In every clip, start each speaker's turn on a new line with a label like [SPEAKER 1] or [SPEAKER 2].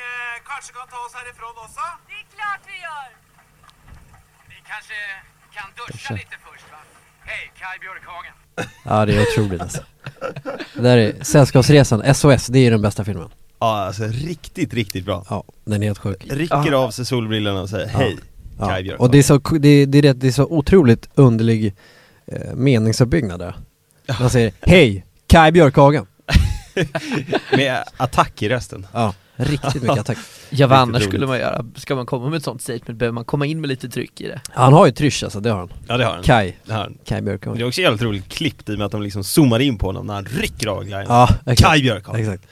[SPEAKER 1] eh, kanske kan ta oss härifrån också?
[SPEAKER 2] Det är klart vi gör!
[SPEAKER 3] Vi kanske kan duscha
[SPEAKER 4] Kanske.
[SPEAKER 3] lite först va? Hej, Kaj Björkhagen.
[SPEAKER 4] Ja det är otroligt alltså Det där är Sällskapsresan, SOS, det är ju den bästa filmen
[SPEAKER 5] Ja, alltså riktigt, riktigt bra.
[SPEAKER 4] Ja, den är helt sjuk
[SPEAKER 5] Rycker av sig solbrillorna och säger hej, Kaj
[SPEAKER 4] ja.
[SPEAKER 5] Björk.
[SPEAKER 4] Och det är så, det är, det är, rätt- det är så otroligt underlig eh, meningsuppbyggnad där Man säger Hej, Kaj Björkhagen
[SPEAKER 5] Med attack i rösten.
[SPEAKER 4] Ja, riktigt mycket attack
[SPEAKER 6] Ja vad
[SPEAKER 5] Riktigt
[SPEAKER 6] annars
[SPEAKER 5] roligt.
[SPEAKER 6] skulle man göra? Ska man komma med ett sånt statement behöver man komma in med lite tryck i det
[SPEAKER 4] Han har ju trysch alltså, det har han
[SPEAKER 5] Ja, det har han.
[SPEAKER 4] Kaj,
[SPEAKER 5] Det har han.
[SPEAKER 4] Kaj
[SPEAKER 5] Det
[SPEAKER 4] Björkhagen
[SPEAKER 5] är också jävligt roligt klippt i och med att de liksom zoomar in på honom när han rycker av glajjorna.
[SPEAKER 4] Ja, exakt
[SPEAKER 5] Kaj Björkhagen.
[SPEAKER 4] Exakt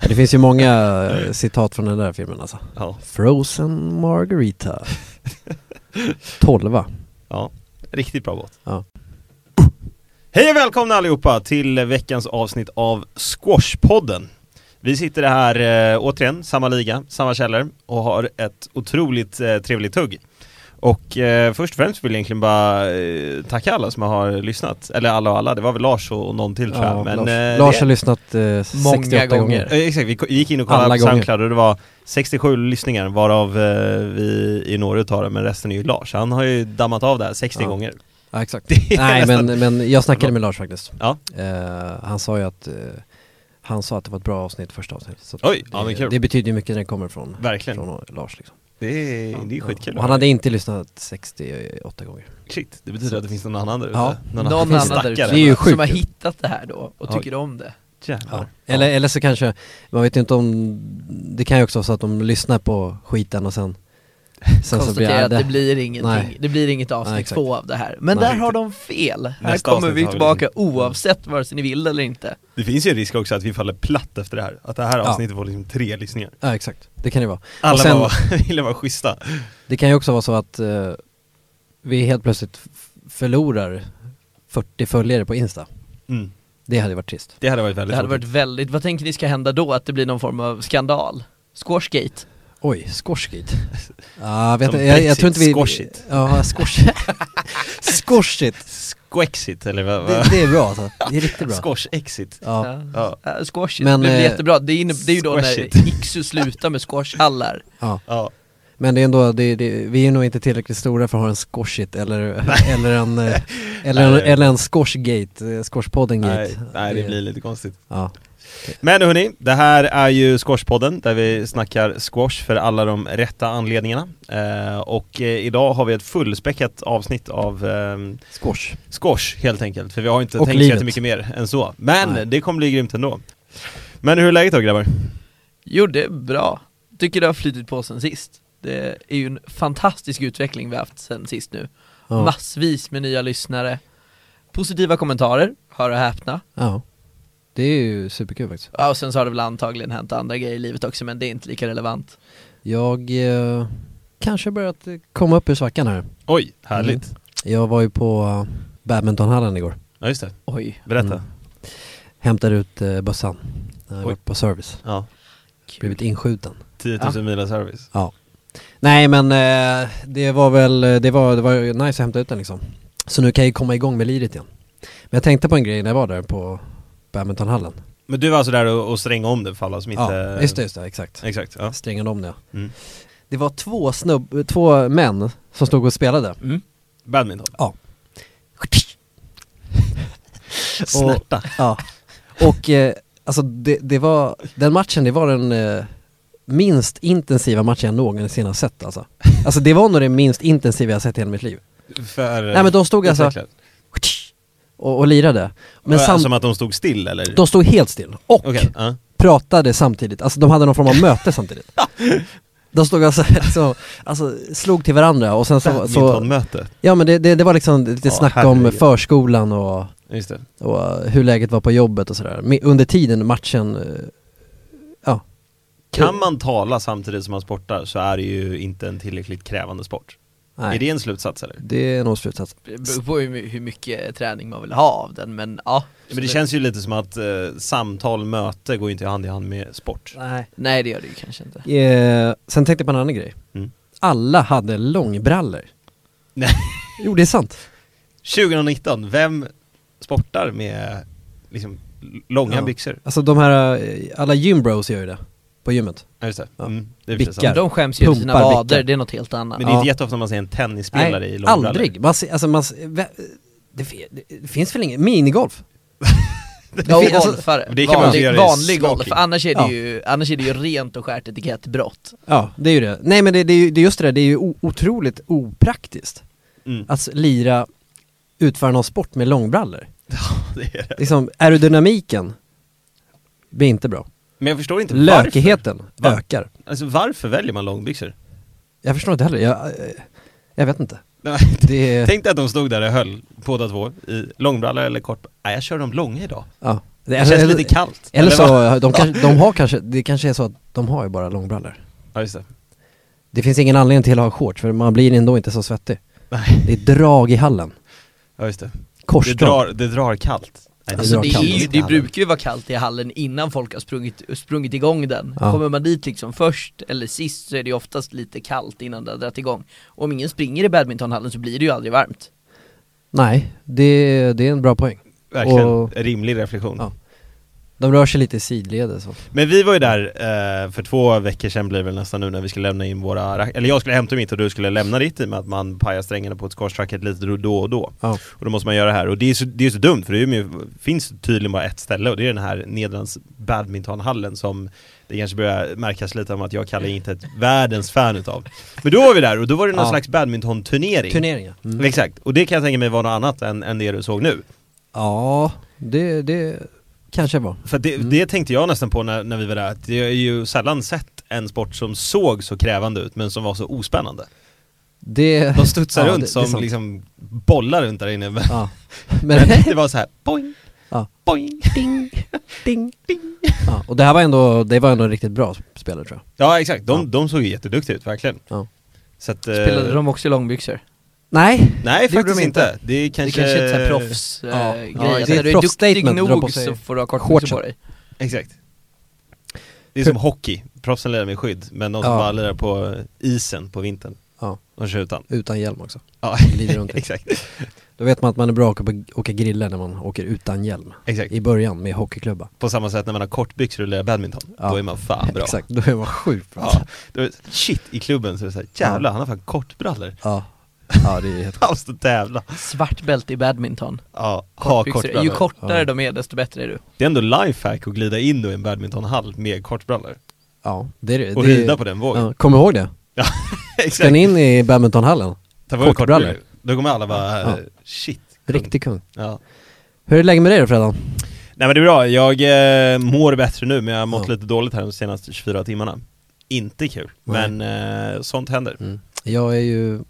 [SPEAKER 4] Ja, Det finns ju många eh, citat från den där filmen alltså
[SPEAKER 5] Ja,
[SPEAKER 4] Frozen Margarita Tolva
[SPEAKER 5] ja. Riktigt bra båt.
[SPEAKER 4] Ja.
[SPEAKER 5] Hej och välkomna allihopa till veckans avsnitt av Squashpodden. Vi sitter här eh, återigen, samma liga, samma källor och har ett otroligt eh, trevligt tugg. Och eh, först och främst vill jag egentligen bara eh, tacka alla som har lyssnat. Eller alla och alla, det var väl Lars och någon till tror jag.
[SPEAKER 4] Ja,
[SPEAKER 5] Men,
[SPEAKER 4] Lars,
[SPEAKER 5] eh,
[SPEAKER 4] Lars
[SPEAKER 5] det-
[SPEAKER 4] har lyssnat eh, 68 gånger,
[SPEAKER 6] gånger.
[SPEAKER 5] Eh, Exakt, vi ko- gick in och kollade
[SPEAKER 4] Alla
[SPEAKER 5] på
[SPEAKER 4] gånger.
[SPEAKER 5] Soundcloud och det var 67 lyssningar varav eh, vi i några utav det, men resten är ju Lars. Han har ju dammat av det här 60
[SPEAKER 4] Ja.
[SPEAKER 5] gånger.
[SPEAKER 4] Ja, exakt
[SPEAKER 5] Det är
[SPEAKER 4] Nej
[SPEAKER 5] nästan-
[SPEAKER 4] men, men jag snackade med Lars faktiskt
[SPEAKER 5] Ja.
[SPEAKER 4] eh, Han sa ju att eh, Han sa att det var ett bra avsnitt, första avsnittet så att
[SPEAKER 5] Oj,
[SPEAKER 4] det,
[SPEAKER 5] ja, men kul.
[SPEAKER 4] Eh, det betyder ju mycket när det kommer från,
[SPEAKER 5] Verkligen.
[SPEAKER 4] från Lars liksom.
[SPEAKER 5] Det är, det är skitkul.
[SPEAKER 4] Och Han hade inte lyssnat 68 gånger
[SPEAKER 5] Shit, det betyder att det finns någon annan där ute.
[SPEAKER 4] Ja,
[SPEAKER 5] någon,
[SPEAKER 6] Någon
[SPEAKER 4] finns
[SPEAKER 6] annan där
[SPEAKER 5] stackare.
[SPEAKER 6] ute
[SPEAKER 4] Det är ju sjukt
[SPEAKER 6] som har
[SPEAKER 4] ju.
[SPEAKER 6] hittat det här då och
[SPEAKER 5] Oj.
[SPEAKER 6] tycker om det
[SPEAKER 5] Jävlar.
[SPEAKER 4] Eller, eller så kanske, man vet ju inte om Det kan ju också vara så att de lyssnar på skiten och sen Sen så blir
[SPEAKER 6] Konstaterar
[SPEAKER 4] det,
[SPEAKER 6] att det blir ingenting,
[SPEAKER 4] Nej.
[SPEAKER 6] det blir inget
[SPEAKER 4] Nej,
[SPEAKER 6] avsnitt
[SPEAKER 4] exakt.
[SPEAKER 6] två av det här Men
[SPEAKER 4] Nej.
[SPEAKER 6] där har de fel! Här
[SPEAKER 5] Nästa
[SPEAKER 6] kommer
[SPEAKER 5] avsnitt
[SPEAKER 6] vi
[SPEAKER 5] har vi
[SPEAKER 6] tillbaka oavsett vare sig ni vill eller inte
[SPEAKER 5] Det finns ju en risk också att vi faller platt efter det här. Att det här
[SPEAKER 4] Ja.
[SPEAKER 5] avsnittet får liksom tre lyssningar.
[SPEAKER 4] Ja exakt, det kan det vara
[SPEAKER 5] Alla
[SPEAKER 4] Och sen-
[SPEAKER 5] bara ville vara schyssta.
[SPEAKER 4] Det kan ju också vara så att eh, vi helt plötsligt f- förlorar 40 följare på Insta.
[SPEAKER 5] Mm.
[SPEAKER 4] Det hade ju varit trist.
[SPEAKER 5] Det hade varit väldigt
[SPEAKER 6] Det hade varit
[SPEAKER 5] tråkigt.
[SPEAKER 6] väldigt, vad tänker ni ska hända då? Att det blir någon form av skandal? Squashgate?
[SPEAKER 4] Oj, skorskigt. Ja, vet
[SPEAKER 5] Som
[SPEAKER 4] jag, jag, jag
[SPEAKER 5] Brexit,
[SPEAKER 4] tror inte vi...
[SPEAKER 5] squashigt.
[SPEAKER 4] Ja, skorskigt. skorskigt.
[SPEAKER 5] Squexit eller vad?
[SPEAKER 4] Det,
[SPEAKER 5] vad?
[SPEAKER 4] det är bra alltså. Det är riktigt bra.
[SPEAKER 5] Squash-exit.
[SPEAKER 4] Ja,
[SPEAKER 5] Ja.
[SPEAKER 6] Uh, squash,
[SPEAKER 4] Men,
[SPEAKER 6] men, det blir
[SPEAKER 4] eh,
[SPEAKER 6] jättebra. Det, inne, det är ju då
[SPEAKER 5] squash it.
[SPEAKER 6] när Iksu slutar med squashhallar.
[SPEAKER 4] ja.
[SPEAKER 5] Ja.
[SPEAKER 4] Men det är ändå, det, det, vi är nog inte tillräckligt stora för att ha en skorskigt eller, eller en, eh, eller en,
[SPEAKER 5] Nej.
[SPEAKER 4] eller en skorsgate, skorspodden gate.
[SPEAKER 5] Nej, nej, det blir lite konstigt.
[SPEAKER 4] Ja,
[SPEAKER 5] Men hörni, det här är ju Squashpodden där vi snackar squash för alla de rätta anledningarna. Eh, och eh, idag har vi ett fullspäckat avsnitt av ehm,
[SPEAKER 4] skors.
[SPEAKER 5] squash helt enkelt. För vi har inte
[SPEAKER 4] Och
[SPEAKER 5] tänkt
[SPEAKER 4] livet.
[SPEAKER 5] så mycket mer än så. Men
[SPEAKER 4] Nej.
[SPEAKER 5] det kommer bli grymt ändå. Men hur är läget då grabbar?
[SPEAKER 6] Jo, det är bra. Tycker det har flyttit på sen sist. Det är ju en fantastisk utveckling vi har haft sen sist nu.
[SPEAKER 4] Ja.
[SPEAKER 6] Massvis med nya lyssnare. Positiva kommentarer, hör och häpna.
[SPEAKER 4] ja. Det är ju superkul faktiskt.
[SPEAKER 6] Ja, och sen så har det väl antagligen hänt andra grejer i livet också, men det är inte lika relevant.
[SPEAKER 4] Jag eh, kanske börjat eh, komma upp ur svackan här.
[SPEAKER 5] Oj, härligt.
[SPEAKER 4] Mm. Jag var ju på eh, badmintonhallen igår.
[SPEAKER 5] Ja just det,
[SPEAKER 6] Oj.
[SPEAKER 5] berätta.
[SPEAKER 4] Mm. Hämtade ut eh, bössan. Jag
[SPEAKER 5] Oj.
[SPEAKER 4] var på service.
[SPEAKER 5] Ja,
[SPEAKER 4] Blivit inskjuten.
[SPEAKER 5] 10 000 mila service.
[SPEAKER 4] Nej men eh, det var väl, eh, det var, det var ju nice att hämta ut den liksom. Så nu kan jag ju komma igång med liret igen. Men jag tänkte på en grej när jag var där på badmintonhallen.
[SPEAKER 5] Men du var alltså där och, och strängade om det för alla som inte...
[SPEAKER 4] Ja, just det, just det, exakt.
[SPEAKER 5] Exakt, eh, ja.
[SPEAKER 4] Strängade om det.
[SPEAKER 5] Mm.
[SPEAKER 4] Det var två snubb, två män som stod och spelade.
[SPEAKER 6] Mm.
[SPEAKER 5] Mm. Badminton. Snärta.
[SPEAKER 4] Ja, och eh, alltså det, det var, den matchen det var den eh, minst intensiva matchen jag någonsin har sett alltså. Alltså det var nog det minst intensiva jag har sett i hela mitt liv.
[SPEAKER 5] För... eh,
[SPEAKER 4] Nej men de stod alltså
[SPEAKER 5] Verkligen.
[SPEAKER 4] och, och lirade. Men sam-
[SPEAKER 5] Som att de stod still eller?
[SPEAKER 4] de stod helt still och
[SPEAKER 5] alltså, Okej, ja.
[SPEAKER 4] pratade samtidigt, alltså de hade någon form av möte samtidigt. De stod alltså, så, alltså slog till varandra och sen så, så
[SPEAKER 5] Badmintonmöte.
[SPEAKER 4] ja men det, det, det var liksom lite
[SPEAKER 5] Ja,
[SPEAKER 4] snack om
[SPEAKER 5] herregud.
[SPEAKER 4] förskolan och
[SPEAKER 5] Just det.
[SPEAKER 4] och eh, hur läget var på jobbet och sådär. Me- Under tiden matchen, eh, ja.
[SPEAKER 5] Kan man tala samtidigt som man sportar så är det ju inte en tillräckligt krävande sport.
[SPEAKER 4] Nej,
[SPEAKER 5] Är det en slutsats eller?
[SPEAKER 4] det är nog slutsatsen.
[SPEAKER 6] Det beror på hur, my- hur mycket träning man vill ha av den, men ja.
[SPEAKER 5] Men det känns ju lite som att eh, samtal, möte går ju inte hand i hand med sport.
[SPEAKER 4] Nej.
[SPEAKER 6] Nej, det gör det ju kanske inte.
[SPEAKER 4] Eh, sen tänkte jag på en annan grej.
[SPEAKER 5] Mm.
[SPEAKER 4] Alla hade långbrallor.
[SPEAKER 5] Nej.
[SPEAKER 4] Jo, det är sant.
[SPEAKER 5] 2019, vem sportar med liksom l- långa
[SPEAKER 4] Ja.
[SPEAKER 5] byxor?
[SPEAKER 4] Alltså de här, eh, alla gymbros gör ju det. på gymmet.
[SPEAKER 5] Ja, just det.
[SPEAKER 4] Ja.
[SPEAKER 5] Mm, det är
[SPEAKER 4] Vickar.
[SPEAKER 5] Vickar.
[SPEAKER 6] De skäms ju över sina
[SPEAKER 4] Pumpar
[SPEAKER 6] vader,
[SPEAKER 4] blicken.
[SPEAKER 6] det är något helt annat.
[SPEAKER 5] Men det är inte
[SPEAKER 4] Ja.
[SPEAKER 5] jätteofta man ser en tennisspelare i långbrallor.
[SPEAKER 4] aldrig. Man ser, alltså man, ser- vä- det, fi- det finns väl ingen, minigolf?
[SPEAKER 6] Ja, och alltså,
[SPEAKER 4] Det finns-
[SPEAKER 6] golfare.
[SPEAKER 5] det kan man
[SPEAKER 6] vanlig,
[SPEAKER 5] göra i
[SPEAKER 6] vanlig
[SPEAKER 5] smoking.
[SPEAKER 6] golf, annars är, det
[SPEAKER 4] Ja.
[SPEAKER 6] ju, annars är det ju rent och skärt etikettbrott.
[SPEAKER 4] Ja, det är ju det. Nej men det, det är ju det är just det där, det är ju o- otroligt opraktiskt
[SPEAKER 5] Mm,
[SPEAKER 4] att lira, utföra någon sport med långbrallor.
[SPEAKER 5] det är det.
[SPEAKER 4] Liksom aerodynamiken blir inte bra.
[SPEAKER 5] Men jag förstår inte
[SPEAKER 4] Lökigheten
[SPEAKER 5] Va?
[SPEAKER 4] ökar.
[SPEAKER 5] varför. Alltså varför väljer man långbyxor?
[SPEAKER 4] Jag förstår inte heller, jag, eh, jag vet inte.
[SPEAKER 5] Nej,
[SPEAKER 4] Det är,
[SPEAKER 5] Tänk dig att de stod där och höll, båda två, i långbrallor eller kort. Nej, jag kör de långa idag.
[SPEAKER 4] ja.
[SPEAKER 5] Det
[SPEAKER 4] eller-
[SPEAKER 5] känns
[SPEAKER 4] eller-
[SPEAKER 5] lite kallt.
[SPEAKER 4] Eller
[SPEAKER 5] vad?
[SPEAKER 4] så, de, kanske, de har kanske, det kanske är så att de har ju bara långbrallor.
[SPEAKER 5] Ja, just det.
[SPEAKER 4] Det finns ingen anledning till att ha shorts för man blir ändå inte så svettig.
[SPEAKER 5] Nej,
[SPEAKER 4] Det är drag i hallen.
[SPEAKER 5] ja, just det. Det
[SPEAKER 4] Korsdrag.
[SPEAKER 5] drar, det drar kallt. Nej,
[SPEAKER 4] Alltså,
[SPEAKER 6] Så
[SPEAKER 4] drar
[SPEAKER 6] det, är
[SPEAKER 4] kallt.
[SPEAKER 6] ju,
[SPEAKER 4] i
[SPEAKER 6] det
[SPEAKER 4] hallen.
[SPEAKER 6] brukar ju vara kallt i hallen innan folk har sprungit, sprungit igång den.
[SPEAKER 4] Ja.
[SPEAKER 6] Kommer man dit liksom först eller sist så är det ju oftast lite kallt innan det har dragit igång. Och om ingen springer i badmintonhallen så blir det ju aldrig varmt.
[SPEAKER 4] Nej, det, det är en bra poäng.
[SPEAKER 5] Verkligen
[SPEAKER 4] Och-
[SPEAKER 5] rimlig reflektion.
[SPEAKER 4] Ja. De rör sig lite i sidled och så.
[SPEAKER 5] Men vi var ju där eh, för två veckor sedan blir det väl nästan nu när vi skulle lämna in våra, rack- eller jag skulle hämta mitt och du skulle lämna ditt i och med att man pajar strängarna på ett squashracket lite då och då.
[SPEAKER 4] Ja.
[SPEAKER 5] Och då måste man göra det här, och det är så, det är så dumt för det är ju, finns tydligen bara ett ställe och det är den här Nedrans badmintonhallen som det kanske börjar märkas lite om att jag och Kalle inte är ett världens fan utav. Men då var vi där och då var det någon
[SPEAKER 4] Ja.
[SPEAKER 5] slags badmintonturnering.
[SPEAKER 4] Turneringar. Mm.
[SPEAKER 5] Exakt, och det kan jag tänka mig var något annat än, än det du såg nu.
[SPEAKER 4] Ja, det, det kanske var.
[SPEAKER 5] För att det,
[SPEAKER 4] Mm.
[SPEAKER 5] det tänkte jag nästan på när, när vi var där, att jag har ju sällan sett en sport som såg så krävande ut men som var så ospännande.
[SPEAKER 4] Det,
[SPEAKER 5] De studsar
[SPEAKER 4] ja,
[SPEAKER 5] runt
[SPEAKER 4] det- det är
[SPEAKER 5] som
[SPEAKER 4] sant.
[SPEAKER 5] liksom bollar runt där inne men,
[SPEAKER 4] Ja.
[SPEAKER 5] men
[SPEAKER 4] Men,
[SPEAKER 5] det var så här boing,
[SPEAKER 4] Ja.
[SPEAKER 5] boing.
[SPEAKER 4] ding, ding, ding. Ja, och det här var ändå, det var ändå en riktigt bra spelare tror jag.
[SPEAKER 5] Ja exakt, de,
[SPEAKER 4] Ja.
[SPEAKER 5] de såg ju jätteduktiga ut verkligen.
[SPEAKER 4] Ja.
[SPEAKER 5] Så att,
[SPEAKER 6] Spelade
[SPEAKER 5] eh,
[SPEAKER 6] de också i långbyxor?
[SPEAKER 4] Nej,
[SPEAKER 5] Nej
[SPEAKER 4] Det gjorde
[SPEAKER 5] faktiskt
[SPEAKER 4] de
[SPEAKER 5] inte.
[SPEAKER 4] inte.
[SPEAKER 5] Det är
[SPEAKER 6] Det
[SPEAKER 5] kanske...
[SPEAKER 6] kanske är ett sånt här proffs eh,
[SPEAKER 4] Ja.
[SPEAKER 6] grej,
[SPEAKER 4] Ja,
[SPEAKER 6] att
[SPEAKER 4] det är
[SPEAKER 6] när du
[SPEAKER 4] proffs
[SPEAKER 6] är duktig
[SPEAKER 4] statement, dra på
[SPEAKER 6] nog
[SPEAKER 4] sig
[SPEAKER 6] så får du ha kortbyxor på
[SPEAKER 4] shortsen.
[SPEAKER 6] dig.
[SPEAKER 5] Exakt. Det är som hockey, proffsen lirar med skydd men de som
[SPEAKER 4] Ja.
[SPEAKER 5] bara lirar på isen på vintern,
[SPEAKER 4] ja,
[SPEAKER 5] de kör utan.
[SPEAKER 4] utan hjälm också.
[SPEAKER 5] Ja,
[SPEAKER 4] Glider runt.
[SPEAKER 5] exakt.
[SPEAKER 4] Då vet man att man är bra på att åka grilla när man åker utan hjälm.
[SPEAKER 5] exakt.
[SPEAKER 4] I början med hockeyklubba.
[SPEAKER 5] På samma sätt när man har kortbyxor och lirar badminton,
[SPEAKER 4] Ja.
[SPEAKER 5] då är man fan bra.
[SPEAKER 4] Exakt, då är man sjukt bra.
[SPEAKER 5] Ja. Då är det shit i klubben så är det såhär, jävlar han har fan kortbrallor.
[SPEAKER 4] Ja, ja det är helt
[SPEAKER 5] Han måste tävla.
[SPEAKER 6] Svart bälte i badminton.
[SPEAKER 5] Ja, ha
[SPEAKER 6] Kortbyxor. Ju
[SPEAKER 5] kortbrallor.
[SPEAKER 6] kortare
[SPEAKER 4] Ja.
[SPEAKER 6] de är desto bättre är du.
[SPEAKER 5] Det är ändå lifehack att glida in då i en badmintonhall med kortbrallor.
[SPEAKER 4] Ja, det är det.
[SPEAKER 5] Och
[SPEAKER 4] det är-
[SPEAKER 5] rida på den vågen.
[SPEAKER 4] Ja, kom ihåg det.
[SPEAKER 5] Ja,
[SPEAKER 4] Ska
[SPEAKER 5] exakt.
[SPEAKER 4] ni in i badmintonhallen?
[SPEAKER 5] Ta på er
[SPEAKER 4] kortbrallor?
[SPEAKER 5] kortbrallor. Då kommer alla bara,
[SPEAKER 4] Ja.
[SPEAKER 5] shit. kung.
[SPEAKER 4] Riktig kung.
[SPEAKER 5] Ja.
[SPEAKER 4] Hur är läget med dig då Fredan?
[SPEAKER 5] Nej men det är bra, jag eh, mår bättre nu men jag har mått
[SPEAKER 4] Ja.
[SPEAKER 5] lite dåligt här de senaste 24 timmarna. Inte kul,
[SPEAKER 4] Nej. Mm.
[SPEAKER 5] men eh, sånt händer.
[SPEAKER 4] Jag är ju...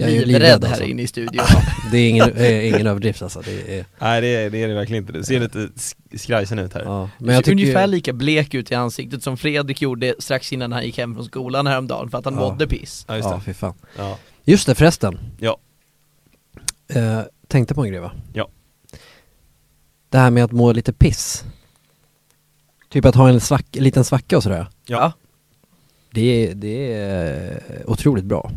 [SPEAKER 4] Jag är ju
[SPEAKER 6] Livrädd här
[SPEAKER 4] alltså.
[SPEAKER 6] inne i studion.
[SPEAKER 4] Det är ingen, eh, ingen överdrift alltså. Det är,
[SPEAKER 5] Nej det är det, är det verkligen inte, det ser lite sk- skrajsen ut här.
[SPEAKER 4] ja.
[SPEAKER 6] Men
[SPEAKER 4] jag tycker ju-
[SPEAKER 6] Ungefär lika blek ut i ansiktet som Fredrik gjorde strax innan han gick hem från skolan häromdagen för att han
[SPEAKER 4] Ja.
[SPEAKER 6] mådde piss.
[SPEAKER 5] Ja just
[SPEAKER 4] Ja,
[SPEAKER 5] det.
[SPEAKER 4] fy fan.
[SPEAKER 5] Ja.
[SPEAKER 4] Just det förresten.
[SPEAKER 5] Ja.
[SPEAKER 4] Eh, tänkte på en grej va?
[SPEAKER 5] Ja.
[SPEAKER 4] Det här med att må lite piss. Typ att ha en svack, liten svacka och sådär.
[SPEAKER 5] Ja.
[SPEAKER 4] Det är, det är otroligt bra.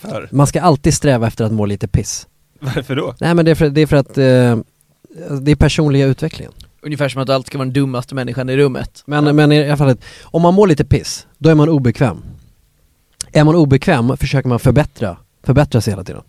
[SPEAKER 5] För.
[SPEAKER 4] Man ska alltid sträva efter att må lite piss.
[SPEAKER 5] Varför då?
[SPEAKER 4] Nej men det är för, det är för att eh, det är personliga utvecklingen.
[SPEAKER 6] Ungefär som att du alltid ska vara den dummaste människan i rummet.
[SPEAKER 4] Men, men i alla fall, att om man mår lite piss, då är man obekväm. Är man obekväm försöker man förbättra, förbättra sig hela tiden.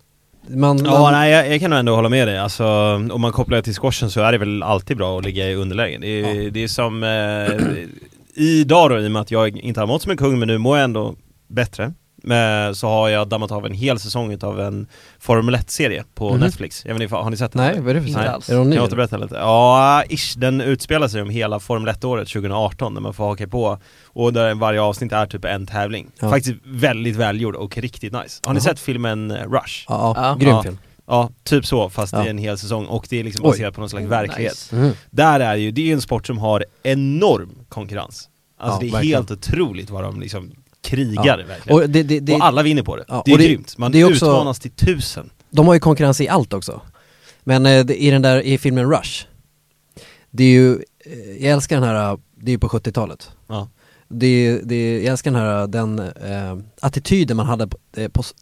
[SPEAKER 4] Man,
[SPEAKER 5] Ja,
[SPEAKER 4] man,
[SPEAKER 5] nej, jag, jag kan nog ändå hålla med dig. Alltså, om man kopplar det till squashen så är det väl alltid bra att ligga i underläge. Det är, det är som... Eh, idag då, i och med att jag inte har mått som en kung, men nu mår jag ändå bättre. Men, så har jag dammat av en hel säsong av en Formel 1-serie på
[SPEAKER 4] Mhm.
[SPEAKER 5] Netflix. Jag vet inte, har ni sett den?
[SPEAKER 4] nej, vad är det för
[SPEAKER 6] Inte
[SPEAKER 4] serie?
[SPEAKER 6] alls.
[SPEAKER 4] Är de
[SPEAKER 5] Kan
[SPEAKER 4] ny?
[SPEAKER 5] jag återberätta lite? Ja, ish, den utspelar sig om hela Formel 1-året 2018 när man får haka på och där varje avsnitt är typ en tävling.
[SPEAKER 4] Ja.
[SPEAKER 5] Faktiskt väldigt välgjord och riktigt nice. Har ni
[SPEAKER 4] Jaha.
[SPEAKER 5] sett filmen eh, Rush?
[SPEAKER 4] Ja, ja,
[SPEAKER 6] Ja.
[SPEAKER 4] grym
[SPEAKER 5] Ja.
[SPEAKER 4] film.
[SPEAKER 5] Ja, typ så, fast
[SPEAKER 4] Ja.
[SPEAKER 5] det är en hel säsong och det är liksom
[SPEAKER 4] Oj.
[SPEAKER 5] baserat på någon slags verklighet.
[SPEAKER 6] Nice.
[SPEAKER 4] Mhm.
[SPEAKER 5] Där är ju, det är ju en sport som har enorm konkurrens. Alltså
[SPEAKER 4] Ja,
[SPEAKER 5] det är
[SPEAKER 4] verkligen.
[SPEAKER 5] helt otroligt vad de liksom krigar verkligen. Och,
[SPEAKER 4] Och det, det, det,
[SPEAKER 5] alla vinner på det.
[SPEAKER 4] Ja,
[SPEAKER 5] det är
[SPEAKER 4] och det-
[SPEAKER 5] grymt. Man
[SPEAKER 4] det är också-
[SPEAKER 5] utmanas till tusen.
[SPEAKER 4] de har ju konkurrens i allt också. Men eh, det, i den där, i filmen Rush, det är ju, eh, jag älskar den här, eh, det är ju på 70-talet.
[SPEAKER 5] Ja.
[SPEAKER 4] Det är, det är, jag älskar den här, eh, den eh, attityden man hade på, eh, på, s-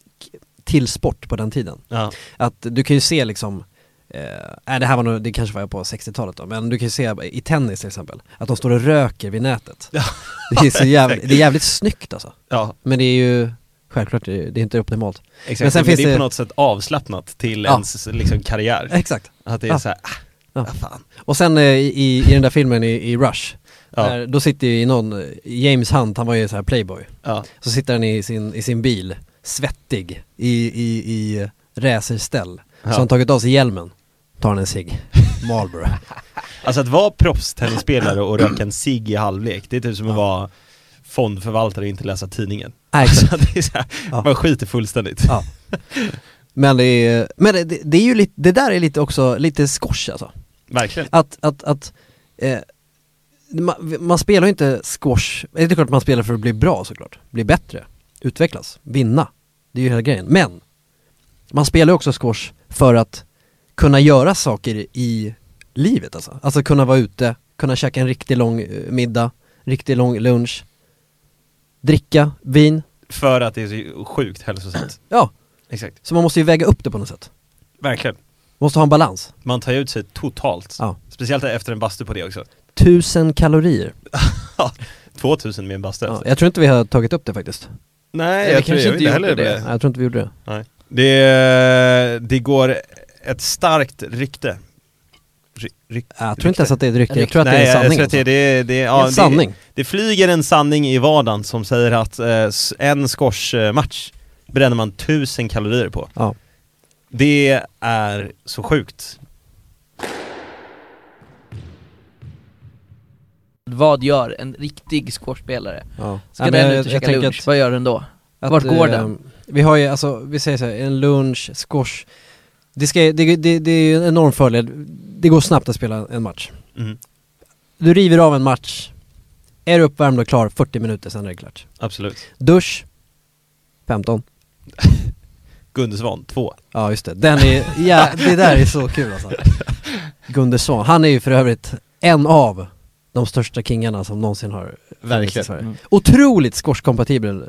[SPEAKER 4] till sport på den tiden.
[SPEAKER 5] Ja.
[SPEAKER 4] Att du kan ju se liksom eh, Eh, nej, det här var nog, det kanske var jag på 60-talet då, men du kan ju se eh, i tennis till exempel, att de står och röker vid nätet.
[SPEAKER 5] Ja.
[SPEAKER 4] Det är, så jävligt, det är jävligt snyggt alltså.
[SPEAKER 5] Ja,
[SPEAKER 4] Men det är ju, självklart, det är det är inte optimalt.
[SPEAKER 5] exakt.
[SPEAKER 4] Men
[SPEAKER 5] Men,
[SPEAKER 4] sen finns
[SPEAKER 5] det är
[SPEAKER 4] det-
[SPEAKER 5] på något sätt avslappnat till
[SPEAKER 4] Ja.
[SPEAKER 5] ens liksom, karriär.
[SPEAKER 4] Exakt.
[SPEAKER 5] Att det är
[SPEAKER 4] Ja.
[SPEAKER 5] så här, ah,
[SPEAKER 4] Ja.
[SPEAKER 5] ah, fan.
[SPEAKER 4] Och sen eh, i, i den där filmen i, i Rush,
[SPEAKER 5] Ja.
[SPEAKER 4] där, då sitter ju någon, eh, James Hunt, han var ju så här playboy,
[SPEAKER 5] Ja.
[SPEAKER 4] så sitter han i sin, i sin bil, svettig, i, i, i eh, racerställ. Så
[SPEAKER 5] Ja.
[SPEAKER 4] har han tagit av sig hjälmen, tar han en cigg, Marlboro.
[SPEAKER 5] Alltså att vara proffstennisspelare och röka en cigg i halvlek, det är typ som att vara fondförvaltare och inte läsa tidningen.
[SPEAKER 4] Nej, exakt.
[SPEAKER 5] Alltså det är så här,
[SPEAKER 4] Ja.
[SPEAKER 5] man skiter fullständigt.
[SPEAKER 4] Ja. Men det är, men det, det är ju lite, det där är lite också, lite squash alltså.
[SPEAKER 5] Verkligen.
[SPEAKER 4] Att, att, att eh, man, man spelar ju inte squash, det är klart man spelar för att bli bra såklart, bli bättre, utvecklas, vinna. Det är ju hela grejen. Men, man spelar ju också squash för att kunna göra saker i livet alltså. Alltså kunna vara ute, kunna käka en riktigt lång eh, middag, riktigt lång lunch, dricka vin,
[SPEAKER 5] För att det är så sjukt hälsosamt.
[SPEAKER 4] ja.
[SPEAKER 5] Exakt.
[SPEAKER 4] Så man måste ju väga upp det på något sätt.
[SPEAKER 5] Verkligen.
[SPEAKER 4] Måste ha en balans.
[SPEAKER 5] Man tar ut sig totalt.
[SPEAKER 4] Ja.
[SPEAKER 5] Speciellt efter en bastu på det också.
[SPEAKER 4] Tusen kalorier.
[SPEAKER 5] 2000 med en bastu.
[SPEAKER 4] Ja, jag tror inte vi har tagit upp det faktiskt.
[SPEAKER 5] Nej,
[SPEAKER 6] vi kanske
[SPEAKER 5] gör
[SPEAKER 6] inte
[SPEAKER 5] inte
[SPEAKER 6] gjorde
[SPEAKER 5] det.
[SPEAKER 6] det.
[SPEAKER 4] Nej, Jag tror inte vi gjorde det.
[SPEAKER 5] Nej. Det, det går ett starkt rykte. Ry, ryk,
[SPEAKER 4] Jag tror inte ens att det är ett rykte, jag tror att
[SPEAKER 5] Nej,
[SPEAKER 4] det är en sanning. alltså. liksom.
[SPEAKER 5] jag tror att det, är- det, är- det, är- ja,
[SPEAKER 4] En sanning.
[SPEAKER 5] Det, det flyger en sanning i vardagen som säger att eh, s- en squashmatch bränner man tusen kalorier på.
[SPEAKER 4] Ja.
[SPEAKER 5] Det är så sjukt.
[SPEAKER 6] Vad gör en riktig squashspelare?
[SPEAKER 4] Ja.
[SPEAKER 6] Ska
[SPEAKER 4] Nej, men
[SPEAKER 6] den
[SPEAKER 4] jag-
[SPEAKER 6] ut och
[SPEAKER 4] jag
[SPEAKER 6] käka
[SPEAKER 4] tänker
[SPEAKER 6] lunch,
[SPEAKER 4] att-
[SPEAKER 6] vad gör den då?
[SPEAKER 4] att,
[SPEAKER 6] Vart går
[SPEAKER 4] eh,
[SPEAKER 6] den?
[SPEAKER 4] Vi har ju, alltså, vi säger så här, en lunch, squash. Det, ska, det, det, det är ju en enorm fördel. Det går snabbt att spela en match.
[SPEAKER 5] Mm,
[SPEAKER 4] Du river av en match, är du uppvärmd och klar 40 minuter, sen är det klart.
[SPEAKER 5] absolut.
[SPEAKER 4] Dusch, 15.
[SPEAKER 5] Gunde Svan, två.
[SPEAKER 4] Ja just det, den är, ja det där är så kul alltså Gunder Svan, han är ju för övrigt en av de största kingarna som någonsin har funnits i Sverige.
[SPEAKER 6] Mm.
[SPEAKER 4] Otroligt squashkompatibel eh,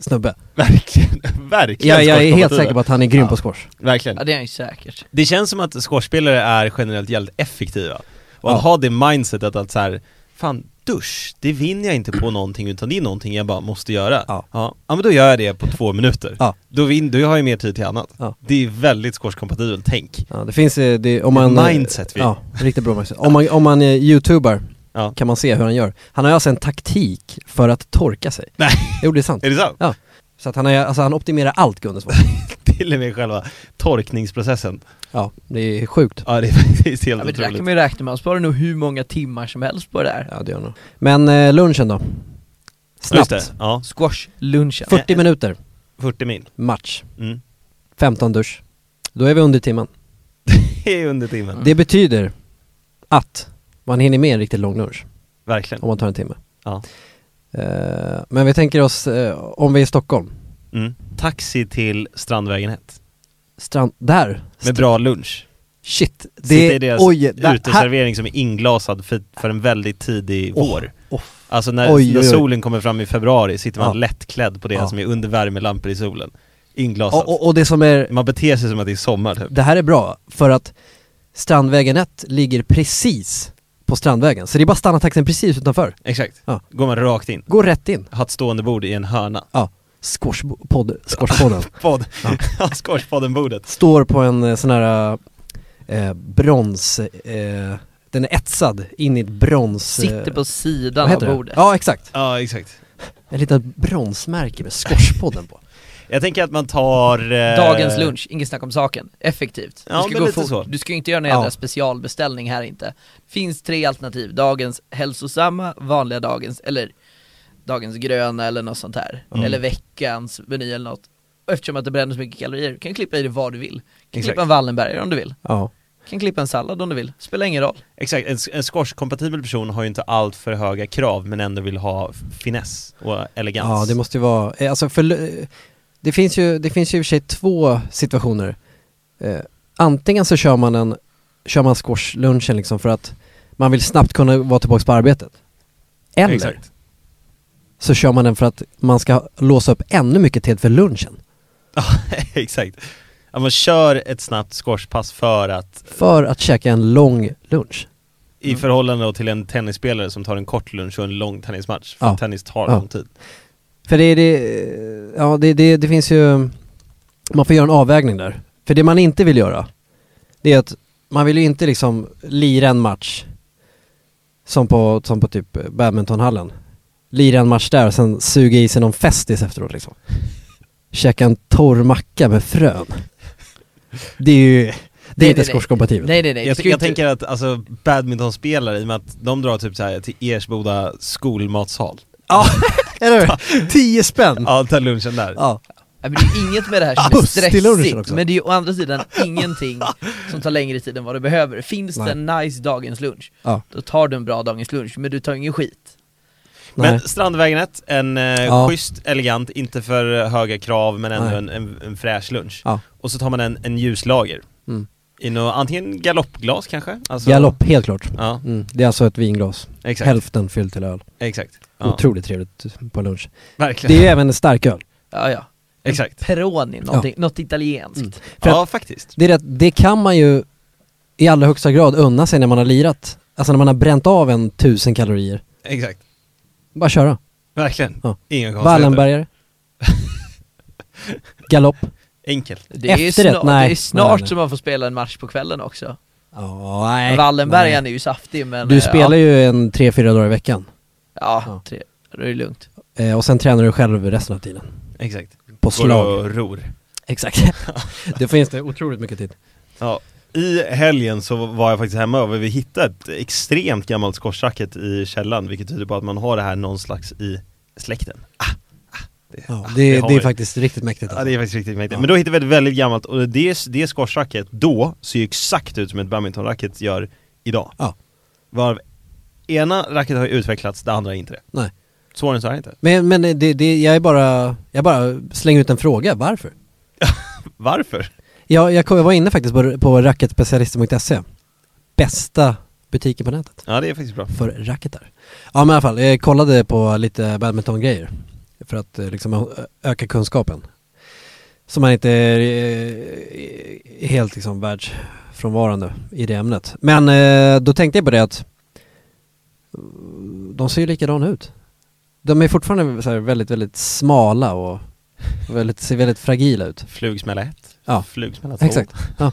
[SPEAKER 4] snubbe
[SPEAKER 5] Verkligen, verkligen.
[SPEAKER 4] jag, jag är helt
[SPEAKER 5] squashkompatibel.
[SPEAKER 4] säker på att han är grym
[SPEAKER 5] Ja.
[SPEAKER 4] på squash
[SPEAKER 5] Verkligen.
[SPEAKER 6] Ja det är han ju säkert.
[SPEAKER 5] Det känns som att skådespelare är generellt jävligt effektiva. Och att
[SPEAKER 4] Ja.
[SPEAKER 5] ha det mindsetet att så här, fan dusch, det vinner jag inte på någonting utan det är någonting jag bara måste göra.
[SPEAKER 4] Ja.
[SPEAKER 5] ja, ja, men då gör jag det på två minuter.
[SPEAKER 4] Ja.
[SPEAKER 5] Då, vin, då har jag ju mer tid till annat.
[SPEAKER 4] Ja.
[SPEAKER 5] Det är väldigt skådespelare tänk.
[SPEAKER 4] ja, Det finns, eh, det, om man...
[SPEAKER 5] Det
[SPEAKER 4] eh,
[SPEAKER 5] är mindset vi-
[SPEAKER 4] Ja, riktigt bra mindset. Om man, om man eh, youtubar
[SPEAKER 5] Ja.
[SPEAKER 4] kan man se hur han gör Han har ju alltså en taktik för att torka sig
[SPEAKER 5] Nej.
[SPEAKER 4] Jo det är sant
[SPEAKER 5] Är det sant?
[SPEAKER 4] Ja. Så att han, är, alltså, han optimerar allt Gunder Svan
[SPEAKER 5] Till och med själva torkningsprocessen.
[SPEAKER 4] Ja, det är sjukt
[SPEAKER 5] Ja, det är faktiskt helt
[SPEAKER 6] Ja, men det där
[SPEAKER 5] otroligt.
[SPEAKER 6] kan man ju räkna med, han sparar nog hur många timmar som helst på det där.
[SPEAKER 4] Ja det gör han nog. Men eh, lunchen då?
[SPEAKER 5] Ja, Just
[SPEAKER 4] Snabbt,
[SPEAKER 5] det, ja.
[SPEAKER 6] Squashlunchen.
[SPEAKER 4] 40 minuter,
[SPEAKER 5] 40 min.
[SPEAKER 4] match,
[SPEAKER 5] Mm.
[SPEAKER 4] 15 dusch. Då är vi under timmen.
[SPEAKER 5] Det är under timmen.
[SPEAKER 4] Det betyder att man hinner med en riktigt lång lunch
[SPEAKER 5] Verkligen.
[SPEAKER 4] om man tar en timme.
[SPEAKER 5] Ja.
[SPEAKER 4] Eh, men vi tänker oss, eh, om vi är i Stockholm,
[SPEAKER 5] Mm. Taxi till Strandvägen 1.
[SPEAKER 4] strand, där,
[SPEAKER 5] Med bra lunch.
[SPEAKER 4] shit,
[SPEAKER 5] Sitta i
[SPEAKER 4] det,
[SPEAKER 5] deras
[SPEAKER 4] oj, där, här,
[SPEAKER 5] uteservering som är inglasad för, för en väldigt tidig
[SPEAKER 4] Åh,
[SPEAKER 5] vår.
[SPEAKER 4] åh.
[SPEAKER 5] Alltså när,
[SPEAKER 4] Oj,
[SPEAKER 5] när
[SPEAKER 4] oj, oj.
[SPEAKER 5] solen kommer fram i februari sitter man
[SPEAKER 4] Ja.
[SPEAKER 5] lättklädd på det
[SPEAKER 4] Ja.
[SPEAKER 5] som är under värmelampor i solen. Inglasat.
[SPEAKER 4] och, och, och det som är,
[SPEAKER 5] Man beter sig som att det är sommar typ.
[SPEAKER 4] det här är bra, för att Strandvägen 1 ligger precis på Strandvägen, så det är bara att stanna taxin precis utanför,
[SPEAKER 5] Exakt.
[SPEAKER 4] Ja.
[SPEAKER 5] Går man rakt in.
[SPEAKER 4] gå rätt in.
[SPEAKER 5] Har ett stående bord i en hörna.
[SPEAKER 4] Ja, squashpodd, squashpodden
[SPEAKER 5] Podd.
[SPEAKER 4] Ja.
[SPEAKER 5] Ja. Skorspodden-bordet.
[SPEAKER 4] Står på en eh, sån här eh, brons, eh, den är etsad in i ett brons... eh,
[SPEAKER 6] Sitter på
[SPEAKER 4] vad
[SPEAKER 6] sidan av
[SPEAKER 4] heter det?
[SPEAKER 6] bordet.
[SPEAKER 4] Ja exakt,
[SPEAKER 5] Ja, exakt.
[SPEAKER 4] ett litet bronsmärke med squashpodden på
[SPEAKER 5] Jag tänker att man tar... eh,
[SPEAKER 6] Dagens lunch, inget snack om saken. Effektivt.
[SPEAKER 5] Ja,
[SPEAKER 6] du ska
[SPEAKER 5] men
[SPEAKER 6] gå
[SPEAKER 5] lite
[SPEAKER 6] fort.
[SPEAKER 5] så.
[SPEAKER 6] Du ska ju inte göra någon
[SPEAKER 4] Ja.
[SPEAKER 6] jävla specialbeställning här inte. Finns tre alternativ. Dagens hälsosamma, vanliga dagens, eller dagens gröna eller något sånt här.
[SPEAKER 5] Mm.
[SPEAKER 6] Eller veckans meny eller något. Och Eftersom att det bränner så mycket kalorier, du kan klippa i det vad du vill. Du kan
[SPEAKER 5] Exakt.
[SPEAKER 6] klippa en Wallenbergare om du vill.
[SPEAKER 4] Ja,
[SPEAKER 6] Du kan klippa en sallad om du vill. Spelar ingen roll.
[SPEAKER 5] Exakt, en, en skorskompatibel person har ju inte allt för höga krav men ändå vill ha finess och elegans.
[SPEAKER 4] ja det måste ju vara, eh, alltså för, eh, det finns ju, det finns ju i och för sig två situationer eh, Antingen så kör man en, kör man squashlunchen liksom för att man vill snabbt kunna vara tillbaka på arbetet Eller
[SPEAKER 5] Exakt.
[SPEAKER 4] så kör man den för att man ska låsa upp ännu mycket tid för lunchen
[SPEAKER 5] Exakt. Att man kör ett snabbt squashpass för att
[SPEAKER 4] För att käka en lång lunch.
[SPEAKER 5] i
[SPEAKER 4] Mm.
[SPEAKER 5] förhållande då till en tennisspelare som tar en kort lunch och en lång tennismatch, för
[SPEAKER 4] Ja.
[SPEAKER 5] tennis tar
[SPEAKER 4] Ja.
[SPEAKER 5] lång tid.
[SPEAKER 4] För det, det, ja, det, det, det finns ju, man får göra en avvägning där. För det man inte vill göra, det är att man vill ju inte liksom lira en match som på, som på typ badmintonhallen. Lira en match där och sen suga i sig någon festis efteråt liksom. Käka en torr macka med frön. Det är ju, det är
[SPEAKER 6] nej,
[SPEAKER 4] inte
[SPEAKER 6] nej.
[SPEAKER 4] squashkompatibelt.
[SPEAKER 6] Nej nej nej,
[SPEAKER 5] Jag,
[SPEAKER 6] Du ska ju
[SPEAKER 5] jag
[SPEAKER 6] inte-
[SPEAKER 5] tänker att alltså, badmintonspelare, i och med att de drar typ så här till Ersboda skolmatsal,
[SPEAKER 4] Ja, eller hur? Tio spänn!
[SPEAKER 5] ja tar lunchen där.
[SPEAKER 4] Mm. Ja.
[SPEAKER 6] Nej, men det är inget med det här som är
[SPEAKER 4] Buss till lunchen
[SPEAKER 6] stressigt,
[SPEAKER 4] också.
[SPEAKER 6] men det är ju å andra sidan ingenting som tar längre tid än vad du behöver. Finns det
[SPEAKER 4] Nej.
[SPEAKER 6] en nice dagens lunch,
[SPEAKER 4] Ja.
[SPEAKER 6] då tar du en bra dagens lunch, men du tar ingen skit.
[SPEAKER 5] Men
[SPEAKER 4] Nej.
[SPEAKER 5] Strandvägen 1, en eh,
[SPEAKER 4] Ja.
[SPEAKER 5] schysst, elegant, inte för höga krav men ändå
[SPEAKER 4] Nej.
[SPEAKER 5] en, en, en fräsch lunch.
[SPEAKER 4] Ja.
[SPEAKER 5] Och så tar man en, en ljuslager.
[SPEAKER 4] Mm.
[SPEAKER 5] I nå- antingen galoppglas kanske? Alltså,
[SPEAKER 4] Galopp, helt klart.
[SPEAKER 5] Ja,
[SPEAKER 4] Mm. Det är alltså ett vinglas,
[SPEAKER 5] exakt.
[SPEAKER 4] hälften fyllt till öl.
[SPEAKER 5] Exakt. Ja,
[SPEAKER 4] Otroligt trevligt på lunch. Det
[SPEAKER 5] verkligen.
[SPEAKER 4] är ju även en starköl.
[SPEAKER 6] Ja, ja.
[SPEAKER 5] Exakt.
[SPEAKER 6] Peroni, någonting, något italienskt.
[SPEAKER 4] För
[SPEAKER 5] Ja, faktiskt.
[SPEAKER 4] Det, är att, det kan man ju i allra högsta grad unna sig när man har lirat. Alltså när man har bränt av en tusen kalorier.
[SPEAKER 5] Exakt.
[SPEAKER 4] Bara köra.
[SPEAKER 5] Verkligen.
[SPEAKER 4] Ja.
[SPEAKER 5] Ingen konstigheter.
[SPEAKER 4] Wallenbergare. Galopp.
[SPEAKER 5] Enkel.
[SPEAKER 6] Det är, ju
[SPEAKER 4] Efterrätt?
[SPEAKER 6] snart,
[SPEAKER 4] Nej.
[SPEAKER 6] det är snart
[SPEAKER 4] Nej, nej.
[SPEAKER 6] som man får spela en match på kvällen också.
[SPEAKER 4] Oh, nej.
[SPEAKER 6] Wallenbergaren är ju saftig men...
[SPEAKER 4] Du
[SPEAKER 6] eh,
[SPEAKER 4] spelar
[SPEAKER 6] ja,
[SPEAKER 4] ju en tre, fyra dagar i veckan.
[SPEAKER 6] Ja,
[SPEAKER 4] Ja.
[SPEAKER 6] tre, då är det lugnt.
[SPEAKER 4] Eh, och sen tränar du själv resten av tiden.
[SPEAKER 5] Exakt.
[SPEAKER 4] På slag.
[SPEAKER 5] Går och ror.
[SPEAKER 4] Exakt. det finns det otroligt mycket tid.
[SPEAKER 5] Ja. I helgen så var jag faktiskt hemma och vi hittade ett extremt gammalt squashracket i källaren vilket tyder på att man har det här någon slags i släkten. Ah, ah, det,
[SPEAKER 4] Ja,
[SPEAKER 5] ah,
[SPEAKER 4] det,
[SPEAKER 5] har
[SPEAKER 4] det är
[SPEAKER 5] vi.
[SPEAKER 4] faktiskt riktigt mäktigt.
[SPEAKER 5] Ja
[SPEAKER 4] Alltså.
[SPEAKER 5] det är faktiskt riktigt mäktigt.
[SPEAKER 4] Ja.
[SPEAKER 5] Men då hittade vi ett väldigt gammalt, och det, det squashracket då ser ju exakt ut som ett badmintonracket gör idag.
[SPEAKER 4] Ja.
[SPEAKER 5] Varav ena racket har ju utvecklats, det andra har inte det.
[SPEAKER 4] Nej.
[SPEAKER 5] Svårare än så är det inte.
[SPEAKER 4] Men, men det, det, jag är bara, jag bara slänger ut en fråga, varför?
[SPEAKER 5] Varför?
[SPEAKER 4] Jag, jag, kom- jag var inne faktiskt på, på racketspecialister.se Bästa butiken på nätet
[SPEAKER 5] Ja det är faktiskt bra.
[SPEAKER 4] för racketar Ja men i alla fall, jag kollade på lite badmintongrejer För att eh, liksom ö- öka kunskapen Så man inte är eh, helt liksom världsfrånvarande i det ämnet Men eh, då tänkte jag på det att De ser ju likadana ut De är fortfarande så här väldigt, väldigt smala och väldigt, ser väldigt fragila ut
[SPEAKER 5] Flugsmälla 1,
[SPEAKER 4] Ja.
[SPEAKER 5] flugsmälla 2,
[SPEAKER 4] Exakt, ja.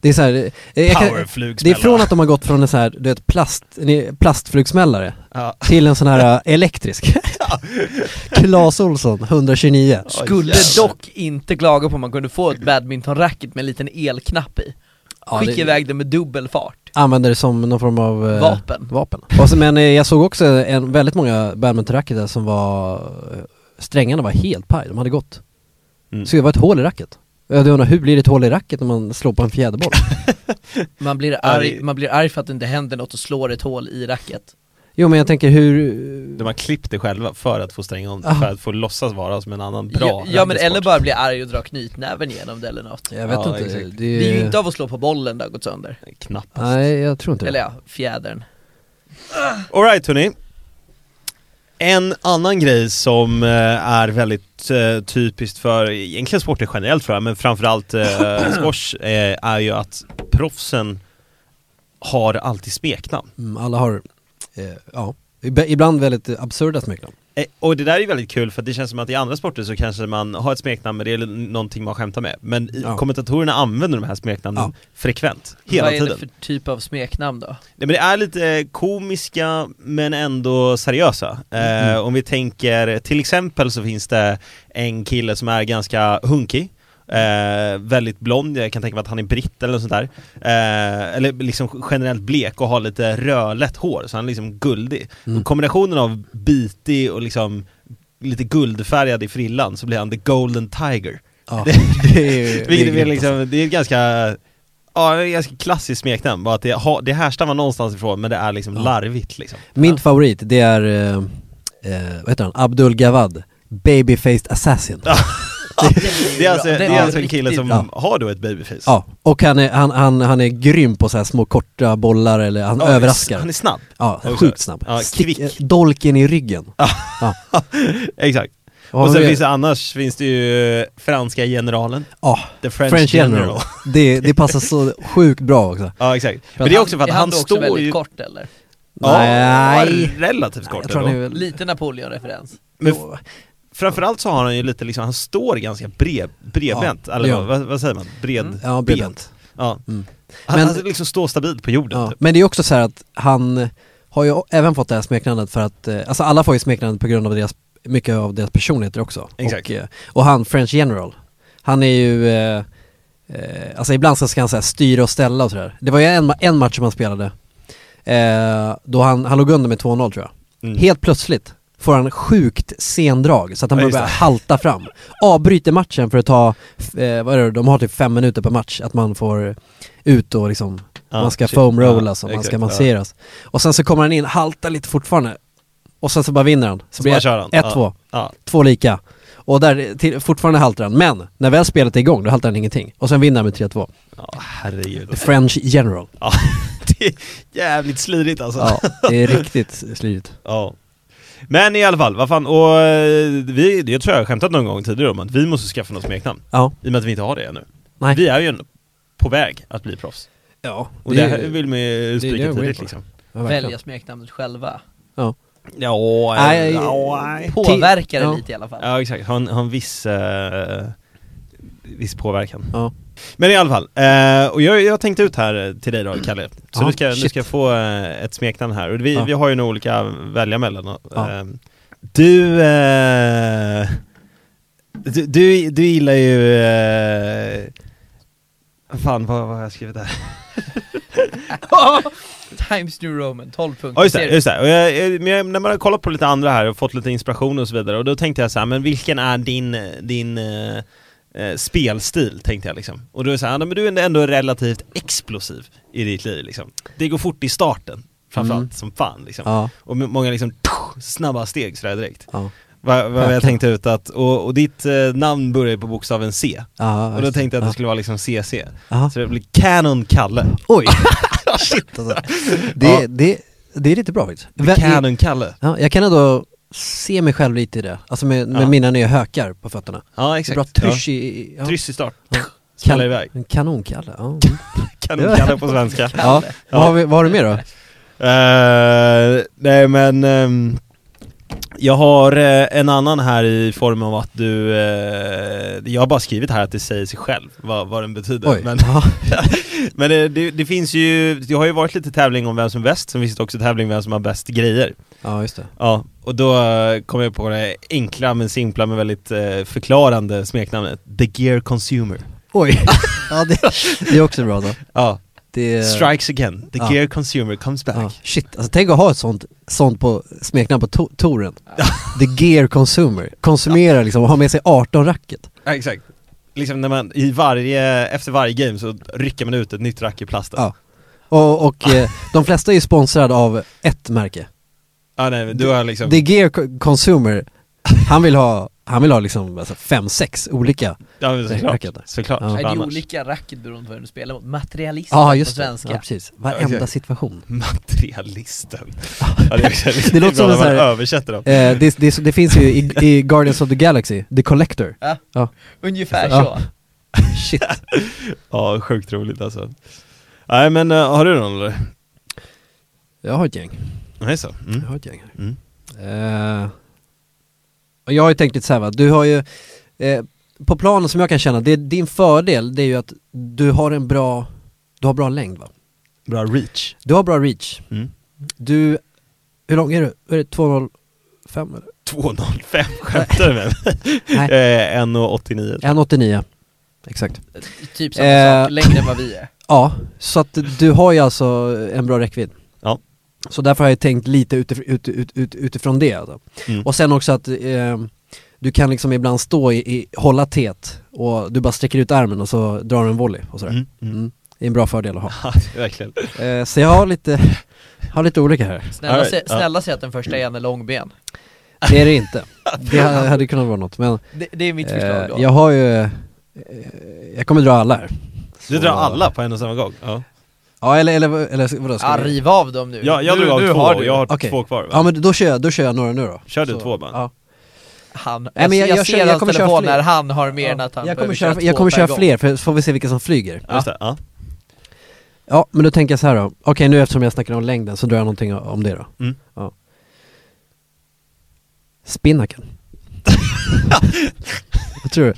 [SPEAKER 4] Det är så här, eh, jag kan, det är
[SPEAKER 5] powerflugsmälla.
[SPEAKER 4] från att de har gått från en så här, du vet, plast, en plastflugsmällare
[SPEAKER 5] Ja.
[SPEAKER 4] till en sån här eh, elektrisk. Klas Olsson, 129.
[SPEAKER 5] Oj,
[SPEAKER 6] Skulle
[SPEAKER 5] jävlar.
[SPEAKER 6] dock inte klaga på om man kunde få ett badmintonracket med en liten elknapp i.
[SPEAKER 4] Ja,
[SPEAKER 6] Skicka
[SPEAKER 4] det-
[SPEAKER 6] iväg det med dubbel fart.
[SPEAKER 4] Använder det som någon form av eh,
[SPEAKER 6] Vapen.
[SPEAKER 4] vapen. Och så, men eh, jag såg också en, väldigt många badmintonracketar som var, eh, strängarna var helt paj, de hade gått.
[SPEAKER 5] Mm.
[SPEAKER 4] Så det var ett hål i racket. Jag undrar, hur blir det ett hål i racket när man slår på en fjäderboll?
[SPEAKER 6] Man blir
[SPEAKER 5] Ja,
[SPEAKER 6] arg,
[SPEAKER 5] det-
[SPEAKER 6] man blir arg för att det inte händer något och slår ett hål i racket.
[SPEAKER 4] jo men jag tänker hur,
[SPEAKER 5] De har klippt det själva för att få stränga om det,
[SPEAKER 4] Ah.
[SPEAKER 5] för att få låtsas vara som en annan bra
[SPEAKER 6] ja, ja men
[SPEAKER 5] racketsport.
[SPEAKER 6] eller bara bli arg och dra knytnäven genom det eller något.
[SPEAKER 4] jag vet
[SPEAKER 5] Ja,
[SPEAKER 4] inte.
[SPEAKER 5] exakt.
[SPEAKER 4] Det
[SPEAKER 6] Det är ju inte av att slå på bollen det har gått sönder.
[SPEAKER 5] Knappast.
[SPEAKER 4] Nej, jag tror inte
[SPEAKER 5] Typ.
[SPEAKER 4] det.
[SPEAKER 6] Eller ja, fjädern.
[SPEAKER 5] Alright hörni En annan grej som eh, är väldigt eh, typiskt för, egentligen sporter generellt tror jag, men framförallt eh, squash eh, är ju att proffsen har alltid smeknamn.
[SPEAKER 4] Mm, alla har, eh, ja, Ib- ibland väldigt eh, absurda smeknamn.
[SPEAKER 5] Eh, och det där är ju väldigt kul för att det känns som att i andra sporter så kanske man har ett smeknamn men det är någonting man skämtar med. Men i-
[SPEAKER 4] Ja.
[SPEAKER 5] kommentatorerna använder de här smeknamnen
[SPEAKER 4] Ja.
[SPEAKER 5] frekvent, hela
[SPEAKER 6] Vad är
[SPEAKER 5] tiden.
[SPEAKER 6] det för typ av smeknamn då?
[SPEAKER 5] Nej men det är lite eh, komiska men ändå seriösa. Eh, om vi tänker, till exempel så finns det en kille som är ganska hunkig, eh, väldigt blond, jag kan tänka mig att han är britt eller något sånt där. Eh, eller liksom generellt blek och har lite rödlätt hår, så han är liksom guldig.
[SPEAKER 4] Mm.
[SPEAKER 5] Och kombinationen av bitig och liksom lite guldfärgad i frillan så blir han the golden tiger.
[SPEAKER 4] Ja,
[SPEAKER 5] Det-
[SPEAKER 4] det är,
[SPEAKER 5] Vilket är,
[SPEAKER 4] grymt alltså.
[SPEAKER 5] liksom, det är ett ganska Ja, det är ett ganska klassiskt smeknamn, bara att det, har, det härstammar någonstans ifrån men det är liksom
[SPEAKER 4] Ja.
[SPEAKER 5] larvigt liksom
[SPEAKER 4] Min favorit, det är, eh, eh, vad heter han, Abdul Gawad, Babyfaced Assassin. Ja,
[SPEAKER 5] Det är alltså, det
[SPEAKER 6] Den
[SPEAKER 5] är
[SPEAKER 6] är
[SPEAKER 5] alltså en kille
[SPEAKER 6] riktigt
[SPEAKER 5] som
[SPEAKER 4] bra.
[SPEAKER 5] har då ett babyface
[SPEAKER 4] och han är, han, han, han är grym på så här små korta bollar eller han
[SPEAKER 5] Ja,
[SPEAKER 4] överraskar.
[SPEAKER 5] Han är snabb,
[SPEAKER 4] ja,
[SPEAKER 5] också.
[SPEAKER 4] sjukt snabb. eh,
[SPEAKER 5] Ja,
[SPEAKER 4] Stick,
[SPEAKER 5] kvick.
[SPEAKER 4] eh, dolken i ryggen.
[SPEAKER 5] exakt
[SPEAKER 4] Vad har vi
[SPEAKER 5] och sen
[SPEAKER 4] mer?
[SPEAKER 5] finns det annars, finns det ju eh, franska generalen,
[SPEAKER 4] Ja,
[SPEAKER 5] the French,
[SPEAKER 4] French, General. Det, det passar så sjukt bra också.
[SPEAKER 5] Ja exakt, men det är också för att han,
[SPEAKER 6] också
[SPEAKER 5] står
[SPEAKER 6] väldigt
[SPEAKER 5] ju...
[SPEAKER 6] kort eller?
[SPEAKER 5] Ja,
[SPEAKER 4] Nej.
[SPEAKER 5] relativt kort
[SPEAKER 4] Jag tror han
[SPEAKER 5] ändå.
[SPEAKER 4] är väl...
[SPEAKER 6] Lite Napoleon-referens.
[SPEAKER 5] Men f- framförallt så har han ju lite liksom, han står ganska brev, bredbent, eller
[SPEAKER 4] ja.
[SPEAKER 5] vad, vad säger man? Bred,
[SPEAKER 6] Mm.
[SPEAKER 4] Ja, bredbent.
[SPEAKER 5] Ja.
[SPEAKER 4] Mm.
[SPEAKER 5] Han,
[SPEAKER 4] Men-
[SPEAKER 5] han liksom står stabilt på jorden
[SPEAKER 4] Ja.
[SPEAKER 5] typ.
[SPEAKER 4] Men det är också så här att han har ju även fått det här smeknamnet för att, eh, alltså alla får ju smeknamnet på grund av deras, mycket av deras personligheter också.
[SPEAKER 5] Exakt.
[SPEAKER 4] Och, eh, och han, French General, han är ju, eh, eh, alltså ibland så ska han så här styra och ställa och sådär. Det var ju en, ma- en match som han spelade, eh, då han, han låg under med 2-0 tror jag.
[SPEAKER 5] Mm.
[SPEAKER 4] Helt plötsligt får han sjukt sendrag så att han
[SPEAKER 5] Ja,
[SPEAKER 4] börjar
[SPEAKER 5] just
[SPEAKER 4] börja
[SPEAKER 5] det.
[SPEAKER 4] halta fram. Avbryter matchen för att ta, f- eh, vad är det, de har typ fem minuter per match, att man får ut och liksom,
[SPEAKER 5] Ja,
[SPEAKER 4] man ska
[SPEAKER 5] shit.
[SPEAKER 4] foam
[SPEAKER 5] Ja,
[SPEAKER 4] rollas och man
[SPEAKER 5] exakt,
[SPEAKER 4] ska
[SPEAKER 5] ja.
[SPEAKER 4] masseras. Och sen så kommer han in, haltar lite fortfarande, och sen så bara vinner han. Så
[SPEAKER 5] Så
[SPEAKER 4] blir
[SPEAKER 5] bara
[SPEAKER 4] det
[SPEAKER 5] kör
[SPEAKER 4] 1-2,
[SPEAKER 5] han. Ja. Ja.
[SPEAKER 4] två lika. Och där, till, fortfarande haltar han, men när väl spelet är igång då haltar han ingenting. Och sen vinner han med 3-2.
[SPEAKER 5] ja, herregud.
[SPEAKER 4] The French General.
[SPEAKER 5] Ja, det är jävligt slirigt alltså. Ja.
[SPEAKER 4] Ja, det är riktigt slirigt.
[SPEAKER 5] Men i alla fall, vad fan, och eh, vi, jag tror jag har skämtat någon gång tidigare om att vi måste skaffa något smeknamn.
[SPEAKER 4] Ja,
[SPEAKER 5] I och med att vi inte har det ännu.
[SPEAKER 4] nej.
[SPEAKER 5] Vi är ju en- på väg att bli proffs.
[SPEAKER 4] ja,
[SPEAKER 5] Och det,
[SPEAKER 4] det är-
[SPEAKER 5] här vill man ju
[SPEAKER 4] det
[SPEAKER 5] stryka
[SPEAKER 4] jag går in
[SPEAKER 5] tidigt
[SPEAKER 4] på.
[SPEAKER 5] liksom.
[SPEAKER 4] ja, verkligen.
[SPEAKER 6] Välja smeknamnet själva.
[SPEAKER 4] Ja.
[SPEAKER 5] Ja, åh,
[SPEAKER 4] Nej,
[SPEAKER 5] ja, nej.
[SPEAKER 6] Påverkar det
[SPEAKER 4] Ja.
[SPEAKER 6] lite i alla fall.
[SPEAKER 5] ja exakt, ha en, ha en viss, eh, viss påverkan.
[SPEAKER 4] Ja.
[SPEAKER 5] Men i alla fall, eh, och jag, jag har tänkt ut här eh, till dig då Kalle, så
[SPEAKER 4] Ja,
[SPEAKER 5] du, ska, du
[SPEAKER 4] shit.
[SPEAKER 5] ska få eh, ett smeknamn här, och vi,
[SPEAKER 4] Ja.
[SPEAKER 5] vi har ju nog olika att välja mellan och,
[SPEAKER 4] Ja.
[SPEAKER 5] eh, du, eh, du, du, du gillar ju, eh, fan vad, vad har jag skrivit där?
[SPEAKER 6] Times New Roman, 12 punkter.
[SPEAKER 5] Ja just det,
[SPEAKER 6] Ser du?
[SPEAKER 5] just det. Och jag, jag, men jag, när man har kollat på lite andra här och fått lite inspiration och så vidare, och då tänkte jag så här, men vilken är din, din eh, eh, spelstil, tänkte jag liksom. Och då är det så här, ja, men du är ändå relativt explosiv i ditt liv liksom. Det går fort i starten, framförallt,
[SPEAKER 4] Mm.
[SPEAKER 5] som fan liksom.
[SPEAKER 4] Ja,
[SPEAKER 5] Och med många liksom snabba steg sådär direkt.
[SPEAKER 4] ja,
[SPEAKER 5] Vad vad jag
[SPEAKER 4] Verkligen.
[SPEAKER 5] tänkte ut att, och, och ditt eh, namn börjar ju på bokstaven C.
[SPEAKER 4] ja
[SPEAKER 5] Och då
[SPEAKER 4] visst.
[SPEAKER 5] tänkte jag att
[SPEAKER 4] ja.
[SPEAKER 5] det skulle vara liksom CC.
[SPEAKER 4] Aha.
[SPEAKER 5] Så det blir Canon Kalle.
[SPEAKER 4] Oj! Shit alltså. det,
[SPEAKER 5] Ja.
[SPEAKER 4] det, det är lite bra faktiskt. Vä-
[SPEAKER 5] Canon Kalle.
[SPEAKER 4] ja, jag kan ändå se mig själv lite i det, alltså med, med
[SPEAKER 5] Ja.
[SPEAKER 4] mina nya hökar på fötterna.
[SPEAKER 5] Ja
[SPEAKER 4] Bra
[SPEAKER 5] exakt. Ja.
[SPEAKER 4] trysch i- i... Ja.
[SPEAKER 5] Tryss i start.
[SPEAKER 4] Ja.
[SPEAKER 5] Smäller
[SPEAKER 4] Kan-
[SPEAKER 5] iväg.
[SPEAKER 4] En kanonkalle, ja.
[SPEAKER 5] Kanonkalle på svenska.
[SPEAKER 4] ja. Vad, har vi, vad har du mer då?
[SPEAKER 5] Eh, nej men, ehm, jag har eh, en annan här i form av att du, eh, jag har bara skrivit här att det säger sig själv vad, vad den betyder.
[SPEAKER 4] Oj.
[SPEAKER 5] Men,
[SPEAKER 4] Ja.
[SPEAKER 5] men det, det, det finns ju, det har ju varit lite tävling om vem som är bäst, sen finns det också tävling om vem som har bäst grejer.
[SPEAKER 4] ja, just det.
[SPEAKER 5] Ja, och då eh, kom jag på det enkla men simpla men väldigt eh, förklarande smeknamnet, The Gear Consumer.
[SPEAKER 4] Oj! ja, det, det är också bra då.
[SPEAKER 5] Ja,
[SPEAKER 4] Det,
[SPEAKER 5] strikes again, The
[SPEAKER 4] Eh. Ja.
[SPEAKER 5] Gear Consumer comes back.
[SPEAKER 4] Ja. Shit, alltså tänk att ha ett sånt, sånt på smeknamn på to- touren. The gear consumer. Konsumera liksom och ha med sig 18 racket.
[SPEAKER 5] Ja, exakt. Liksom när man, i varje, efter varje game så rycker man ut ett nytt rack i plasten. Ja.
[SPEAKER 4] Ja. Och, och eh, de flesta är ju sponsrade av ett märke.
[SPEAKER 5] nej men du har liksom,
[SPEAKER 4] The Gear Co- Consumer, han vill ha, han vill ha liksom alltså fem, sex olika
[SPEAKER 5] ja men
[SPEAKER 4] Nej,
[SPEAKER 5] såklart.
[SPEAKER 4] racket där.
[SPEAKER 5] Såklart.
[SPEAKER 4] Ja.
[SPEAKER 6] Nej, det är
[SPEAKER 5] annars.
[SPEAKER 6] olika racket beroende på vem du spelar mot. Materialist
[SPEAKER 4] Ja
[SPEAKER 6] på
[SPEAKER 4] just det,
[SPEAKER 6] svenska.
[SPEAKER 4] ja, precis. Varenda
[SPEAKER 5] Okej.
[SPEAKER 4] situation.
[SPEAKER 5] Materialisten. ja, det, är också lite
[SPEAKER 4] Det låter
[SPEAKER 5] bra
[SPEAKER 4] som
[SPEAKER 5] när
[SPEAKER 4] en
[SPEAKER 5] man
[SPEAKER 4] sån här-
[SPEAKER 5] översätter dem.
[SPEAKER 4] Eh, det, det, det finns ju i, i Guardians of the Galaxy, The Collector.
[SPEAKER 6] Ja.
[SPEAKER 4] Ja.
[SPEAKER 6] Ungefär
[SPEAKER 4] Ja.
[SPEAKER 6] så.
[SPEAKER 4] Shit.
[SPEAKER 5] Ja, sjukt roligt alltså. Nej men eh, har du någon eller?
[SPEAKER 4] Jag har ett gäng.
[SPEAKER 5] Nej så. Mm.
[SPEAKER 4] Jag har ett gäng. här.
[SPEAKER 5] Mm.
[SPEAKER 4] Eh, och jag har ju tänkt lite så här va, du har ju, eh, på planen som jag kan känna, det, din fördel det är ju att du har en bra, du har bra längd va?
[SPEAKER 5] Bra reach.
[SPEAKER 4] Du har bra reach.
[SPEAKER 5] Mm.
[SPEAKER 4] Du, hur lång är du? Är det 2,05 eller?
[SPEAKER 5] 2,05 skämtar du med
[SPEAKER 4] Nej.
[SPEAKER 5] mig? eh, 1,89.
[SPEAKER 4] 1,89 Exakt
[SPEAKER 6] Typ samma
[SPEAKER 4] Eh.
[SPEAKER 6] sak, längre än vad vi är.
[SPEAKER 4] Ja, så att du har ju alltså en bra räckvidd
[SPEAKER 5] Ja.
[SPEAKER 4] Så därför har jag tänkt lite utif- ut, ut, ut, utifrån det alltså.
[SPEAKER 5] Mm.
[SPEAKER 4] Och sen också att eh, du kan liksom ibland stå i, i, hålla tät och du bara sträcker ut armen och så drar du en volley och sådär
[SPEAKER 5] Mm.
[SPEAKER 4] mm.
[SPEAKER 5] Mm.
[SPEAKER 4] Det är en bra fördel att ha
[SPEAKER 5] Ja, verkligen.
[SPEAKER 4] eh, Så jag har lite, har lite olika här
[SPEAKER 6] Snälla,
[SPEAKER 5] Alright,
[SPEAKER 6] se,
[SPEAKER 5] ja.
[SPEAKER 6] snälla säg att den första är en långben.
[SPEAKER 4] Det är det inte Det ha- hade kunnat vara något men
[SPEAKER 6] Det, det är mitt
[SPEAKER 4] eh,
[SPEAKER 6] förslag då.
[SPEAKER 4] jag har ju, eh, jag kommer dra alla här
[SPEAKER 5] Du
[SPEAKER 4] Så-
[SPEAKER 5] drar alla på en och samma gång? Ja.
[SPEAKER 4] Ja eller, eller, eller, eller vadå, ska
[SPEAKER 6] Ja,
[SPEAKER 4] vi-
[SPEAKER 6] riv av dem nu.
[SPEAKER 5] Jag, jag
[SPEAKER 6] nu,
[SPEAKER 5] drog av
[SPEAKER 6] nu
[SPEAKER 5] två,
[SPEAKER 6] har du.
[SPEAKER 5] jag har
[SPEAKER 4] Okej.
[SPEAKER 5] två kvar va?
[SPEAKER 4] Ja men då kör jag, då kör jag några nu då
[SPEAKER 5] Kör du
[SPEAKER 4] så,
[SPEAKER 5] två bara?
[SPEAKER 4] Ja,
[SPEAKER 6] han,
[SPEAKER 4] men jag-
[SPEAKER 6] jag,
[SPEAKER 4] jag kör-
[SPEAKER 6] ser
[SPEAKER 4] jag
[SPEAKER 6] hans
[SPEAKER 4] kommer köra
[SPEAKER 6] telefon
[SPEAKER 4] fler.
[SPEAKER 6] när han har mer än att han
[SPEAKER 4] jag kommer
[SPEAKER 6] behöver
[SPEAKER 4] köra,
[SPEAKER 6] två
[SPEAKER 4] jag kommer
[SPEAKER 6] per
[SPEAKER 4] köra
[SPEAKER 6] gång.
[SPEAKER 4] fler, för så får vi se vilka som flyger.
[SPEAKER 5] Just det, ja.
[SPEAKER 4] Ja, men då tänker jag så här då. Okej, nu eftersom jag snackar om längden så drar jag någonting om det då.
[SPEAKER 5] Mm.
[SPEAKER 4] Ja. Spinnaken. Vad tror du?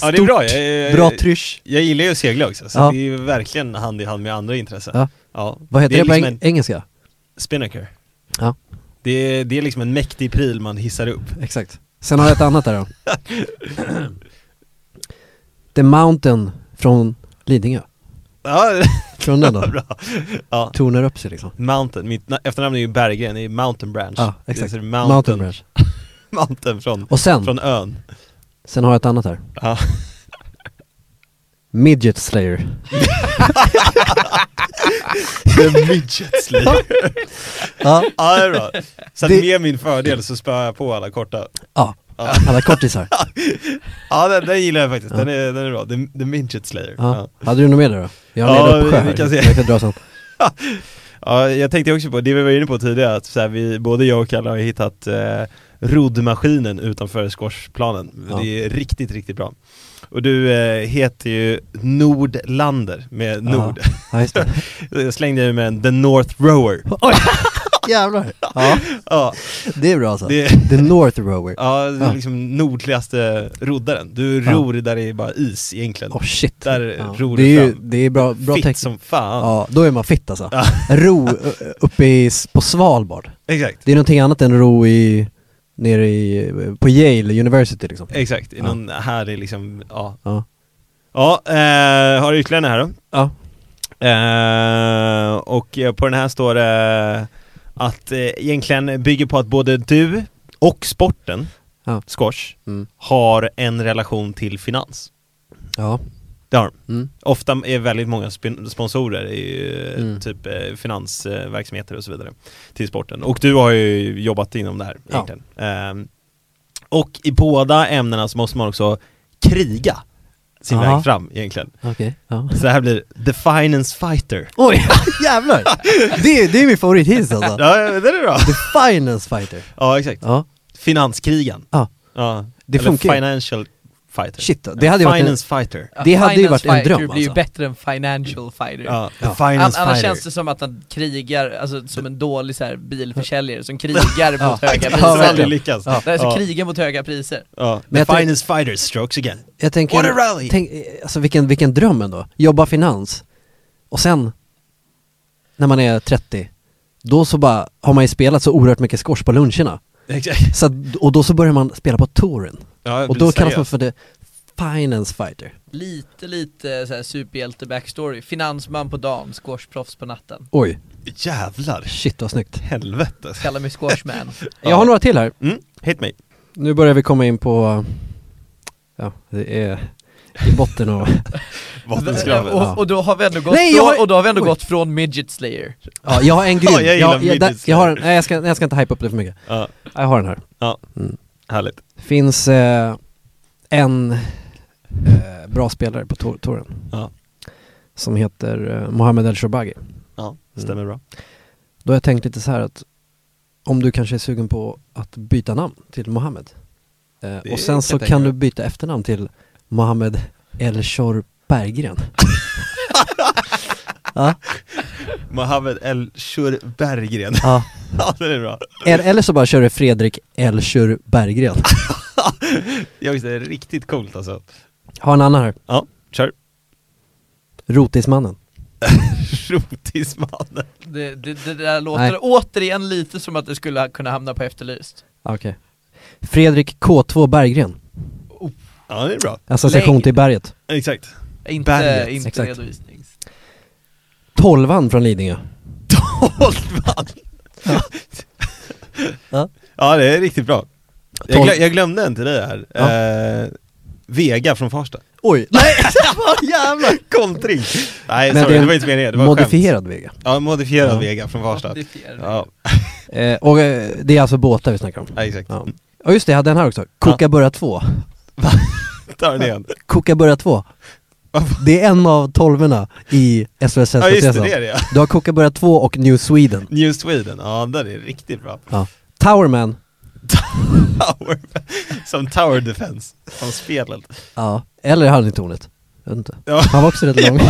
[SPEAKER 5] ja, det är bra. Jag,
[SPEAKER 4] Stort,
[SPEAKER 5] jag,
[SPEAKER 4] Bra trysch.
[SPEAKER 5] jag gillar ju att segla också, så
[SPEAKER 4] Ja.
[SPEAKER 5] det är ju verkligen hand i hand med andra intressen.
[SPEAKER 4] Ja.
[SPEAKER 5] Ja.
[SPEAKER 4] Vad heter det,
[SPEAKER 5] är
[SPEAKER 4] på
[SPEAKER 5] liksom
[SPEAKER 4] eng- engelska?
[SPEAKER 5] en spinnaker.
[SPEAKER 4] Ja.
[SPEAKER 5] Det är, det är liksom en mäktig pryl man hissar upp.
[SPEAKER 4] Exakt. Sen har jag ett annat där då. The Mountain från Lidingö.
[SPEAKER 5] Ja,
[SPEAKER 4] Från den då?
[SPEAKER 5] bra. Ja.
[SPEAKER 4] Tornar upp sig liksom.
[SPEAKER 5] Mountain, mitt na- efternamn är ju Berggren, det är Mountain Branch.
[SPEAKER 4] Ja,
[SPEAKER 5] Det är
[SPEAKER 4] exakt.
[SPEAKER 5] så
[SPEAKER 4] Mountain,
[SPEAKER 5] mountain, mountain,
[SPEAKER 4] Ranch.
[SPEAKER 5] från,
[SPEAKER 4] Och sen,
[SPEAKER 5] från ön.
[SPEAKER 4] sen har jag ett annat här.
[SPEAKER 5] Ja.
[SPEAKER 4] Midget Slayer.
[SPEAKER 5] The midget slayer.
[SPEAKER 4] Ja.
[SPEAKER 5] Ja, det är bra. Så att
[SPEAKER 4] Det-
[SPEAKER 5] med min fördel så spöar jag på alla korta.
[SPEAKER 4] ja.
[SPEAKER 5] Ja.
[SPEAKER 4] Alla kortisar.
[SPEAKER 5] Ja, den, den gillar jag faktiskt.
[SPEAKER 4] Ja.
[SPEAKER 5] Den, är, den är bra. The, the midget slayer.
[SPEAKER 4] Ja.
[SPEAKER 5] Ja.
[SPEAKER 4] Hade du något mer där då? Jag har en
[SPEAKER 5] Ja,
[SPEAKER 4] hel uppsjö
[SPEAKER 5] vi- vi kan
[SPEAKER 4] här.
[SPEAKER 5] se.
[SPEAKER 4] Jag kan dra sen.
[SPEAKER 5] Ja, jag tänkte också på det vi var inne på tidigare, att så här, vi, både jag och Kalle har ju hittat eh, roddmaskinen utanför squashplanen.
[SPEAKER 4] Ja.
[SPEAKER 5] Det är riktigt, riktigt bra. Och du eh, heter ju Nordlander med Nord.
[SPEAKER 4] Ja, just det.
[SPEAKER 5] Jag slängde ju med en The North Rower.
[SPEAKER 4] Oj! Jävlar. Ja,
[SPEAKER 5] Ja,
[SPEAKER 4] det är bra alltså.
[SPEAKER 5] Det-
[SPEAKER 4] The North Rower.
[SPEAKER 5] ja, det
[SPEAKER 4] Ja.
[SPEAKER 5] är liksom nordligaste roddaren. Du
[SPEAKER 4] Ja.
[SPEAKER 5] ror där det är bara is egentligen.
[SPEAKER 4] Oh shit.
[SPEAKER 5] Där
[SPEAKER 4] ja.
[SPEAKER 5] ror
[SPEAKER 4] det
[SPEAKER 5] du
[SPEAKER 4] är ju,
[SPEAKER 5] fram.
[SPEAKER 4] Det är bra, bra
[SPEAKER 5] Fitt
[SPEAKER 4] tecken.
[SPEAKER 5] som fan.
[SPEAKER 4] Ja, då är man fitt alltså.
[SPEAKER 5] Ja.
[SPEAKER 4] Ro ö, uppe i, s- på Svalbard.
[SPEAKER 5] Exakt,
[SPEAKER 4] Det är någonting annat än ro i, nere i, eh, på Yale University liksom.
[SPEAKER 5] exakt. I
[SPEAKER 4] Ja.
[SPEAKER 5] Någon härlig liksom, ja.
[SPEAKER 4] Ja.
[SPEAKER 5] Ja, eh, har du ytterligare en här då?
[SPEAKER 4] Ja.
[SPEAKER 5] Eh, och eh, på den här står det att eh, egentligen bygger på att både du och sporten,
[SPEAKER 4] Ja.
[SPEAKER 5] squash,
[SPEAKER 4] Mm.
[SPEAKER 5] har en relation till finans.
[SPEAKER 4] Ja.
[SPEAKER 5] Det har de.
[SPEAKER 4] Mm.
[SPEAKER 5] Ofta är väldigt många spin- sponsorer i eh,
[SPEAKER 4] Mm.
[SPEAKER 5] typ eh, finansverksamheter och så vidare till sporten. Och du har ju jobbat inom det här
[SPEAKER 4] Ja.
[SPEAKER 5] egentligen. Ehm, och i båda ämnena så måste man också kriga sin
[SPEAKER 4] Aha.
[SPEAKER 5] väg fram egentligen.
[SPEAKER 4] Okej. Ja.
[SPEAKER 5] Så det här blir The Finance Fighter.
[SPEAKER 4] Oj, jävlar! Det är, det är min favorit hittills alltså.
[SPEAKER 5] Ja, det är bra.
[SPEAKER 4] The Finance Fighter.
[SPEAKER 5] Ja, exakt.
[SPEAKER 4] Ja.
[SPEAKER 5] Finanskrigan.
[SPEAKER 4] Ja.
[SPEAKER 5] Ja.
[SPEAKER 4] Det
[SPEAKER 5] Eller
[SPEAKER 4] funkar ju.
[SPEAKER 5] Financial Fighter.
[SPEAKER 4] Shit, det hade ju varit en-
[SPEAKER 5] Finance Fighter.
[SPEAKER 6] Ja,
[SPEAKER 4] Det hade ju varit en
[SPEAKER 6] finance
[SPEAKER 4] dröm,
[SPEAKER 6] fighter blir ju
[SPEAKER 4] alltså.
[SPEAKER 6] bättre än financial fighter.
[SPEAKER 5] Ja, The
[SPEAKER 4] Ja.
[SPEAKER 5] Finance
[SPEAKER 6] An- annars
[SPEAKER 5] Fighter.
[SPEAKER 6] känns det som att han krigar, alltså som en dålig så här, bilförsäljare som krigar
[SPEAKER 4] Ja.
[SPEAKER 6] mot
[SPEAKER 4] Ja,
[SPEAKER 6] höga
[SPEAKER 5] Jag har aldrig
[SPEAKER 4] verkligen.
[SPEAKER 6] priser.
[SPEAKER 5] lyckats.
[SPEAKER 4] Ja.
[SPEAKER 6] Nej, så
[SPEAKER 5] Ja.
[SPEAKER 6] krigar mot höga priser.
[SPEAKER 5] Ja.
[SPEAKER 4] Men
[SPEAKER 5] The
[SPEAKER 4] jag tänk-
[SPEAKER 5] Finance Fighter strokes again.
[SPEAKER 4] Jag tänker,
[SPEAKER 5] What a rally!
[SPEAKER 4] Tänk, eh, alltså vilken, vilken dröm ändå. Jobba finans. Och sen, när man är 30, då så bara har man ju spelat så oerhört mycket squash på luncherna.
[SPEAKER 5] Exakt.
[SPEAKER 4] Så att, och då så börjar man spela på touren.
[SPEAKER 5] Ja, det
[SPEAKER 4] Och
[SPEAKER 5] blir
[SPEAKER 4] då kallas man
[SPEAKER 5] seriöst.
[SPEAKER 4] för the finance fighter.
[SPEAKER 6] Lite, lite så här, superhjälte backstory. Finansman på dagen, squashproffs på natten.
[SPEAKER 4] Oj,
[SPEAKER 5] Jävlar.
[SPEAKER 4] shit vad snyggt.
[SPEAKER 5] Helvete.
[SPEAKER 6] Kallar mig squashman.
[SPEAKER 4] Jag har några till här.
[SPEAKER 5] Mm, hit me.
[SPEAKER 4] Nu börjar vi komma in på, ja det är i botten och...
[SPEAKER 5] Vattenskraven.
[SPEAKER 4] Ja.
[SPEAKER 6] och, och då har vi ändå gått,
[SPEAKER 4] Nej, jag
[SPEAKER 6] från,
[SPEAKER 4] har-
[SPEAKER 6] och då har vi ändå
[SPEAKER 4] Oj.
[SPEAKER 6] gått från midget slayer.
[SPEAKER 4] Ja, jag har en grym.
[SPEAKER 5] Ja, jag gillar
[SPEAKER 4] jag,
[SPEAKER 5] midget
[SPEAKER 4] där- jag har en, nej jag ska, jag ska inte hypa upp det för mycket.
[SPEAKER 5] Ja,
[SPEAKER 4] Jag har den här.
[SPEAKER 5] härligt.
[SPEAKER 4] Finns eh, en eh, bra spelare på tor- touren.
[SPEAKER 5] Ja.
[SPEAKER 4] Som heter eh, Mohamed El Shobagi.
[SPEAKER 5] Ja, stämmer bra.
[SPEAKER 4] Då har jag tänkt lite så här att om du kanske är sugen på att byta namn till Mohamed. Eh, och
[SPEAKER 5] kan
[SPEAKER 4] sen så
[SPEAKER 5] jag tänka
[SPEAKER 4] kan du
[SPEAKER 5] mig.
[SPEAKER 4] byta efternamn till Mohamed El Shor Berggren. ja,
[SPEAKER 5] Mohammed El Shur Berggren.
[SPEAKER 4] Mm. ja.
[SPEAKER 5] ja, det är bra.
[SPEAKER 4] Eller eller så bara kör du Fredrik El Shor Berggren.
[SPEAKER 5] Jag det är riktigt coolt alltså.
[SPEAKER 4] Har en annan här.
[SPEAKER 5] Ja, kör.
[SPEAKER 4] Rotismannen.
[SPEAKER 5] Rotismannen.
[SPEAKER 6] Det, det, det där låter
[SPEAKER 4] Nej.
[SPEAKER 6] återigen lite som att det skulle ha- kunna hamna på efterlyst.
[SPEAKER 4] Ah, Okej. Fredrik K2 Berggren.
[SPEAKER 5] Ja, det är bra.
[SPEAKER 4] Association
[SPEAKER 6] Längd.
[SPEAKER 4] till berget.
[SPEAKER 5] Exakt.
[SPEAKER 6] Inte,
[SPEAKER 5] Berget,
[SPEAKER 6] inte
[SPEAKER 4] exakt.
[SPEAKER 6] redovisning.
[SPEAKER 4] Tolvan från Lidingö.
[SPEAKER 5] Tolvan!
[SPEAKER 4] Ja.
[SPEAKER 5] ja. det är riktigt bra. Jag,
[SPEAKER 4] Tolv-
[SPEAKER 5] glö- jag glömde en till dig här.
[SPEAKER 4] Ja.
[SPEAKER 5] Eh, Vega från Farsta.
[SPEAKER 4] Oj, nej! Vad jävlar!
[SPEAKER 5] Kontring! Nej,
[SPEAKER 4] Men
[SPEAKER 5] sorry,
[SPEAKER 4] det är
[SPEAKER 5] det,
[SPEAKER 4] en
[SPEAKER 5] var inte meningen. Det var ett skämt.
[SPEAKER 4] Modifierad Vega.
[SPEAKER 5] Ja, modifierad
[SPEAKER 4] Ja.
[SPEAKER 5] Vega från Farsta.
[SPEAKER 6] Modifierad.
[SPEAKER 5] Ja,
[SPEAKER 4] Eh, och eh, det är alltså båtar vi snackar om.
[SPEAKER 5] ja, exakt.
[SPEAKER 4] Ja, ja just det, jag hade den här också. Kookaburra 2.
[SPEAKER 5] Ta den igen.
[SPEAKER 4] Kookaburra 2. Det är en av tolvorna i SOS
[SPEAKER 5] Ja, just det, det är det ja.
[SPEAKER 4] Du har Kookaburra 2 och New Sweden.
[SPEAKER 5] New Sweden, ja den är riktigt bra.
[SPEAKER 4] Ja. Towerman.
[SPEAKER 5] Power. Som tower defense. Som spelet.
[SPEAKER 4] Ja, eller halvtornet. Jag vet inte.
[SPEAKER 5] Ja.
[SPEAKER 4] Han var också rätt lång.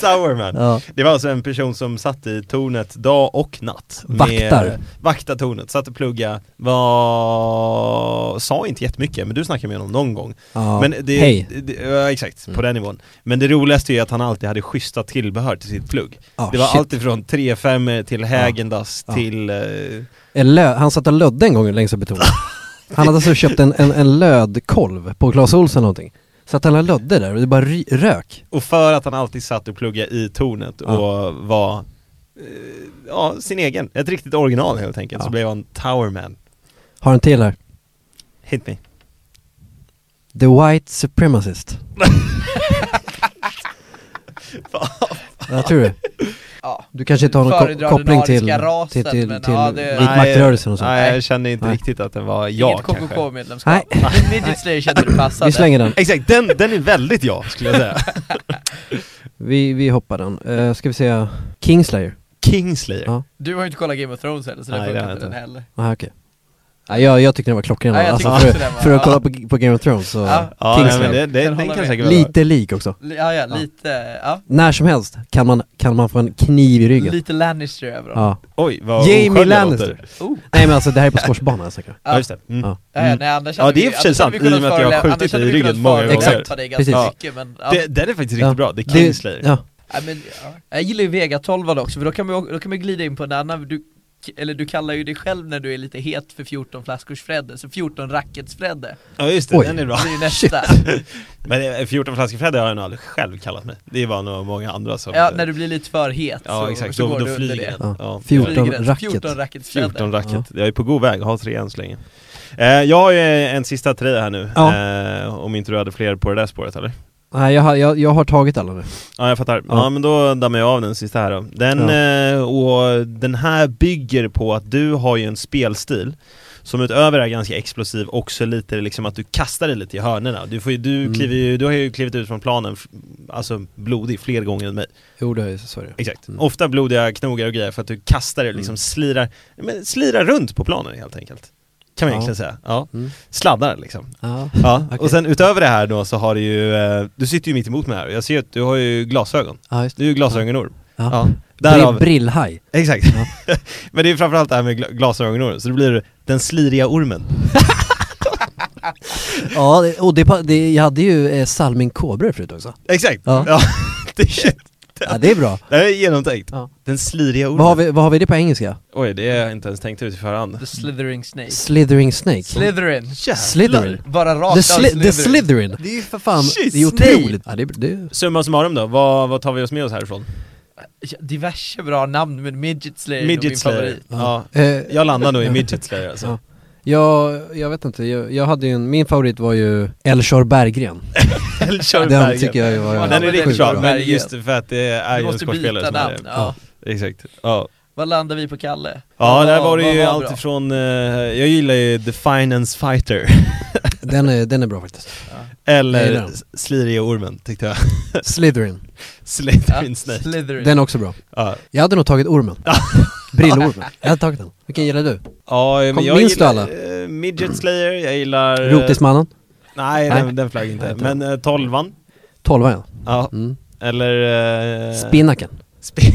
[SPEAKER 5] Tower man.
[SPEAKER 4] Ja.
[SPEAKER 5] Det var alltså en person som satt i tornet dag och natt. med-
[SPEAKER 4] Vaktar.
[SPEAKER 5] Vaktar tornet, satt och plugga, var... sa inte jättemycket, men du snackade med honom någon gång.
[SPEAKER 4] Ja.
[SPEAKER 5] Men det,
[SPEAKER 4] Hej. Mm.
[SPEAKER 5] det, ja, exakt, på den nivån. Men det roligaste är att han alltid hade schyssta tillbehör till sitt plugg.
[SPEAKER 4] Ja,
[SPEAKER 5] det var
[SPEAKER 4] Ah, shit. Ah.
[SPEAKER 5] allt ifrån 3-5 till Hägendas
[SPEAKER 4] Ja.
[SPEAKER 5] till... eh,
[SPEAKER 4] En lö- han satt och lödde en gång längs upp i tornet. Han hade alltså köpt en, en, en lödkolv på Clas Ohlson någonting. Så att han la lödde där och det bara ry- rök.
[SPEAKER 5] och för att han alltid satt och pluggade i tornet
[SPEAKER 4] Ah.
[SPEAKER 5] och var... eh, Ja, sin egen. Ett riktigt original helt enkelt. Så
[SPEAKER 4] Ja.
[SPEAKER 5] blev han Towerman.
[SPEAKER 4] Har en till här.
[SPEAKER 5] Hit me.
[SPEAKER 4] The White Supremacist. Vad tror du?
[SPEAKER 6] Ja.
[SPEAKER 4] Du kanske inte har någon
[SPEAKER 6] Föredrar
[SPEAKER 4] ko- koppling
[SPEAKER 6] den ariska
[SPEAKER 4] till,
[SPEAKER 6] rasen,
[SPEAKER 4] till, till,
[SPEAKER 6] men
[SPEAKER 4] till
[SPEAKER 6] ja, det-
[SPEAKER 4] vit maktrörelsen och sånt?
[SPEAKER 5] Nej, jag kände inte
[SPEAKER 4] Nej.
[SPEAKER 5] riktigt att det var jag
[SPEAKER 6] Inget
[SPEAKER 5] kanske.
[SPEAKER 6] KKK-medlemskap. Men Midget Slayer kände du passade.
[SPEAKER 4] Vi slänger den.
[SPEAKER 5] Exakt, den, den är väldigt jag skulle jag säga.
[SPEAKER 4] Vi, vi hoppar den. Uh, ska vi säga Kingslayer?
[SPEAKER 5] Kingslayer.
[SPEAKER 4] Ja.
[SPEAKER 6] Du har ju inte kollat Game of Thrones heller så
[SPEAKER 5] Nej,
[SPEAKER 6] det
[SPEAKER 5] det
[SPEAKER 6] funkar
[SPEAKER 5] har jag
[SPEAKER 6] inte den
[SPEAKER 5] inte.
[SPEAKER 6] heller.
[SPEAKER 4] Nej okej. Nej jag, jag tyckte den var klockren.
[SPEAKER 6] Nej, jag
[SPEAKER 4] alltså,
[SPEAKER 6] tyckte
[SPEAKER 4] för,
[SPEAKER 6] också den var-
[SPEAKER 4] för att
[SPEAKER 6] ja.
[SPEAKER 4] kolla på, på Game of Thrones så...
[SPEAKER 6] Ja.
[SPEAKER 5] Ja, nej, men
[SPEAKER 4] Kingslayer.
[SPEAKER 5] det, det,
[SPEAKER 6] Den
[SPEAKER 5] den,
[SPEAKER 6] håller
[SPEAKER 5] kan
[SPEAKER 6] jag
[SPEAKER 5] säkert vara
[SPEAKER 4] Lite lik också.
[SPEAKER 6] Li- Ja, ja,
[SPEAKER 4] Ja.
[SPEAKER 6] lite, ja.
[SPEAKER 4] När som helst kan man, kan man få en kniv i ryggen.
[SPEAKER 6] Lite Lannister över dem.
[SPEAKER 4] Ja.
[SPEAKER 5] Oj, vad
[SPEAKER 4] Jamie
[SPEAKER 5] oskön jag
[SPEAKER 4] Lannister.
[SPEAKER 5] låter.
[SPEAKER 6] Oh.
[SPEAKER 4] Nej men alltså det här är på squashbanan jag snackar.
[SPEAKER 5] Ja, just det. Mm.
[SPEAKER 4] Ja.
[SPEAKER 6] Ja, ja, nej, annars
[SPEAKER 5] Ja, det är
[SPEAKER 6] hade vi-
[SPEAKER 5] i och för sig
[SPEAKER 6] annars hade vi
[SPEAKER 5] sant, i och
[SPEAKER 6] kunnat
[SPEAKER 5] med att jag har
[SPEAKER 6] förolä-
[SPEAKER 5] skjutit
[SPEAKER 6] annars hade
[SPEAKER 5] i
[SPEAKER 6] vi kunnat
[SPEAKER 5] ryggen många gånger.
[SPEAKER 6] förolämpa dig ganska
[SPEAKER 4] Precis.
[SPEAKER 6] mycket, men, ja.
[SPEAKER 5] Det, den är faktiskt riktigt
[SPEAKER 4] Ja.
[SPEAKER 5] bra, det är
[SPEAKER 4] Det-
[SPEAKER 5] Kingslayer.
[SPEAKER 4] Ja.
[SPEAKER 6] Ja, men, ja. Jag gillar ju Vega 12 också, för då kan, man, ju- då kan man glida in på en annan, du, eller du kallar ju dig själv när du är lite het för 14 flaskors Fredde, så 14 rackets Fredde,
[SPEAKER 5] Ja just det,
[SPEAKER 4] Oj.
[SPEAKER 5] den är bra.
[SPEAKER 6] det är ju nästa.
[SPEAKER 5] Men eh, 14 flaskor Freddy har jag nog aldrig själv kallat mig. Det var nog många andra som...
[SPEAKER 6] Ja, när du blir lite för het
[SPEAKER 5] ja
[SPEAKER 6] så,
[SPEAKER 5] exakt,
[SPEAKER 6] så
[SPEAKER 5] då,
[SPEAKER 6] går
[SPEAKER 5] då
[SPEAKER 6] du under
[SPEAKER 5] flyger
[SPEAKER 6] det.
[SPEAKER 5] den.
[SPEAKER 4] Ja.
[SPEAKER 5] Ja.
[SPEAKER 4] 14
[SPEAKER 6] Flyger den, så
[SPEAKER 4] racket.
[SPEAKER 6] 14 rackets Fredde.
[SPEAKER 5] 14 racket, jag är på god väg, har tre än så länge. Eh, jag har ju en sista tröja här nu,
[SPEAKER 4] Ja.
[SPEAKER 5] eh, om inte du hade fler på det där spåret eller?
[SPEAKER 4] Nej jag har, jag, jag har tagit alla nu.
[SPEAKER 5] Ja jag fattar, ja,
[SPEAKER 4] Ja.
[SPEAKER 5] men då dammar jag av den sista här då. Den,
[SPEAKER 4] Ja.
[SPEAKER 5] eh, och den här bygger på att du har ju en spelstil som utöver är ganska explosiv också lite liksom att du kastar dig lite i hörnorna. Du, får ju, du,
[SPEAKER 4] Mm.
[SPEAKER 5] kliver ju, du har ju klivit ut från planen, f- alltså blodig, fler gånger än mig.
[SPEAKER 4] Jo det är så är det.
[SPEAKER 5] Exakt.
[SPEAKER 4] Mm.
[SPEAKER 5] Ofta blodiga knogar och grejer för att du kastar dig, liksom
[SPEAKER 4] Mm.
[SPEAKER 5] slirar, men slirar runt på planen helt enkelt. Kan man
[SPEAKER 4] Ja.
[SPEAKER 5] egentligen säga. Ja.
[SPEAKER 4] Mm.
[SPEAKER 5] Sladdar liksom.
[SPEAKER 4] Ja.
[SPEAKER 5] Ja.
[SPEAKER 4] Okej.
[SPEAKER 5] Och sen utöver det här då så har du ju, eh, du sitter ju mitt emot mig här och jag ser ju att du har ju glasögon.
[SPEAKER 4] ja just det.
[SPEAKER 5] Du är ju glasögonorm.
[SPEAKER 4] Ja.
[SPEAKER 5] Ja.
[SPEAKER 4] Br-
[SPEAKER 5] Därav,
[SPEAKER 4] Brillhaj.
[SPEAKER 5] exakt.
[SPEAKER 4] Ja.
[SPEAKER 5] Men det är ju framförallt det här med gla- glasögonorm, så det blir den sliriga ormen.
[SPEAKER 4] Ja det, och det, pa- det, jag hade ju eh, Salming Kobra förut också.
[SPEAKER 5] Exakt. Ja.
[SPEAKER 4] Ja.
[SPEAKER 5] Det, är,
[SPEAKER 4] Ja det är bra.
[SPEAKER 5] det här är genomtänkt.
[SPEAKER 4] Ja.
[SPEAKER 5] Den sliriga ormen.
[SPEAKER 4] Vad har, vi, vad har vi det på engelska?
[SPEAKER 5] Oj, det har jag inte ens tänkt ut i förhand.
[SPEAKER 6] The Slithering Snake.
[SPEAKER 4] Slithering Snake.
[SPEAKER 6] Slytherin.
[SPEAKER 5] Jävlar.
[SPEAKER 4] Slytherin.
[SPEAKER 6] Bara rakt
[SPEAKER 4] The,
[SPEAKER 6] av
[SPEAKER 4] sli- the
[SPEAKER 6] Slytherin.
[SPEAKER 4] Slytherin. Det är ju för fan,
[SPEAKER 5] Shit,
[SPEAKER 4] det är otroligt. Ja, det, det,
[SPEAKER 5] Summa summarum då, vad, vad tar vi oss med oss härifrån?
[SPEAKER 6] Ja, Diverse bra namn, men Midget Slayer är nog min
[SPEAKER 5] Midget Slayer.
[SPEAKER 6] favorit.
[SPEAKER 5] Ja.
[SPEAKER 4] Eh,
[SPEAKER 5] Jag landar nog i Midget Slayer alltså.
[SPEAKER 4] Ja. jag, jag vet inte, jag, jag hade ju en, min favorit var ju Elshor Berggren.
[SPEAKER 5] Eller kör
[SPEAKER 4] Den
[SPEAKER 5] Bergen.
[SPEAKER 4] tycker jag ju var
[SPEAKER 6] Ja,
[SPEAKER 5] Den är
[SPEAKER 6] men
[SPEAKER 5] riktigt
[SPEAKER 4] sjukt
[SPEAKER 5] bra,
[SPEAKER 6] bra.
[SPEAKER 5] men just för att det är
[SPEAKER 6] Du
[SPEAKER 5] ju en
[SPEAKER 6] måste
[SPEAKER 5] skådespelare
[SPEAKER 6] byta
[SPEAKER 5] som är
[SPEAKER 6] namn.
[SPEAKER 5] det.
[SPEAKER 6] Ja.
[SPEAKER 5] Exakt. Ja.
[SPEAKER 6] Vad landar vi på Kalle?
[SPEAKER 5] Ja,
[SPEAKER 6] Vad-
[SPEAKER 5] där var det
[SPEAKER 6] vad
[SPEAKER 5] ju
[SPEAKER 6] bra?
[SPEAKER 5] allt ifrån, eh, jag gillar ju The Finance Fighter,
[SPEAKER 4] Den är, den är bra faktiskt. Jag gillar
[SPEAKER 5] eller
[SPEAKER 4] den.
[SPEAKER 5] Sliriga Ormen tyckte jag.
[SPEAKER 4] Slytherin,
[SPEAKER 6] Ja,
[SPEAKER 5] Slytherin Snake.
[SPEAKER 6] Slytherin.
[SPEAKER 4] den är också bra.
[SPEAKER 5] Ja,
[SPEAKER 4] Jag hade nog tagit ormen. Brillormen. Jag hade tagit den. Vilken gillar du?
[SPEAKER 5] ja men
[SPEAKER 4] Kom,
[SPEAKER 5] jag
[SPEAKER 4] minns du
[SPEAKER 5] gillar
[SPEAKER 4] alla?
[SPEAKER 5] eh, Midget Slayer, jag gillar... eh,
[SPEAKER 4] Rotismannen?
[SPEAKER 5] Nej,
[SPEAKER 4] Nej.
[SPEAKER 5] den, den flög inte.
[SPEAKER 4] Nej, inte.
[SPEAKER 5] Men eh, tolvan,
[SPEAKER 4] Tolvan ja.
[SPEAKER 5] ja.
[SPEAKER 4] Mm.
[SPEAKER 5] Eller... eh,
[SPEAKER 4] Spinnaken.
[SPEAKER 5] Spin-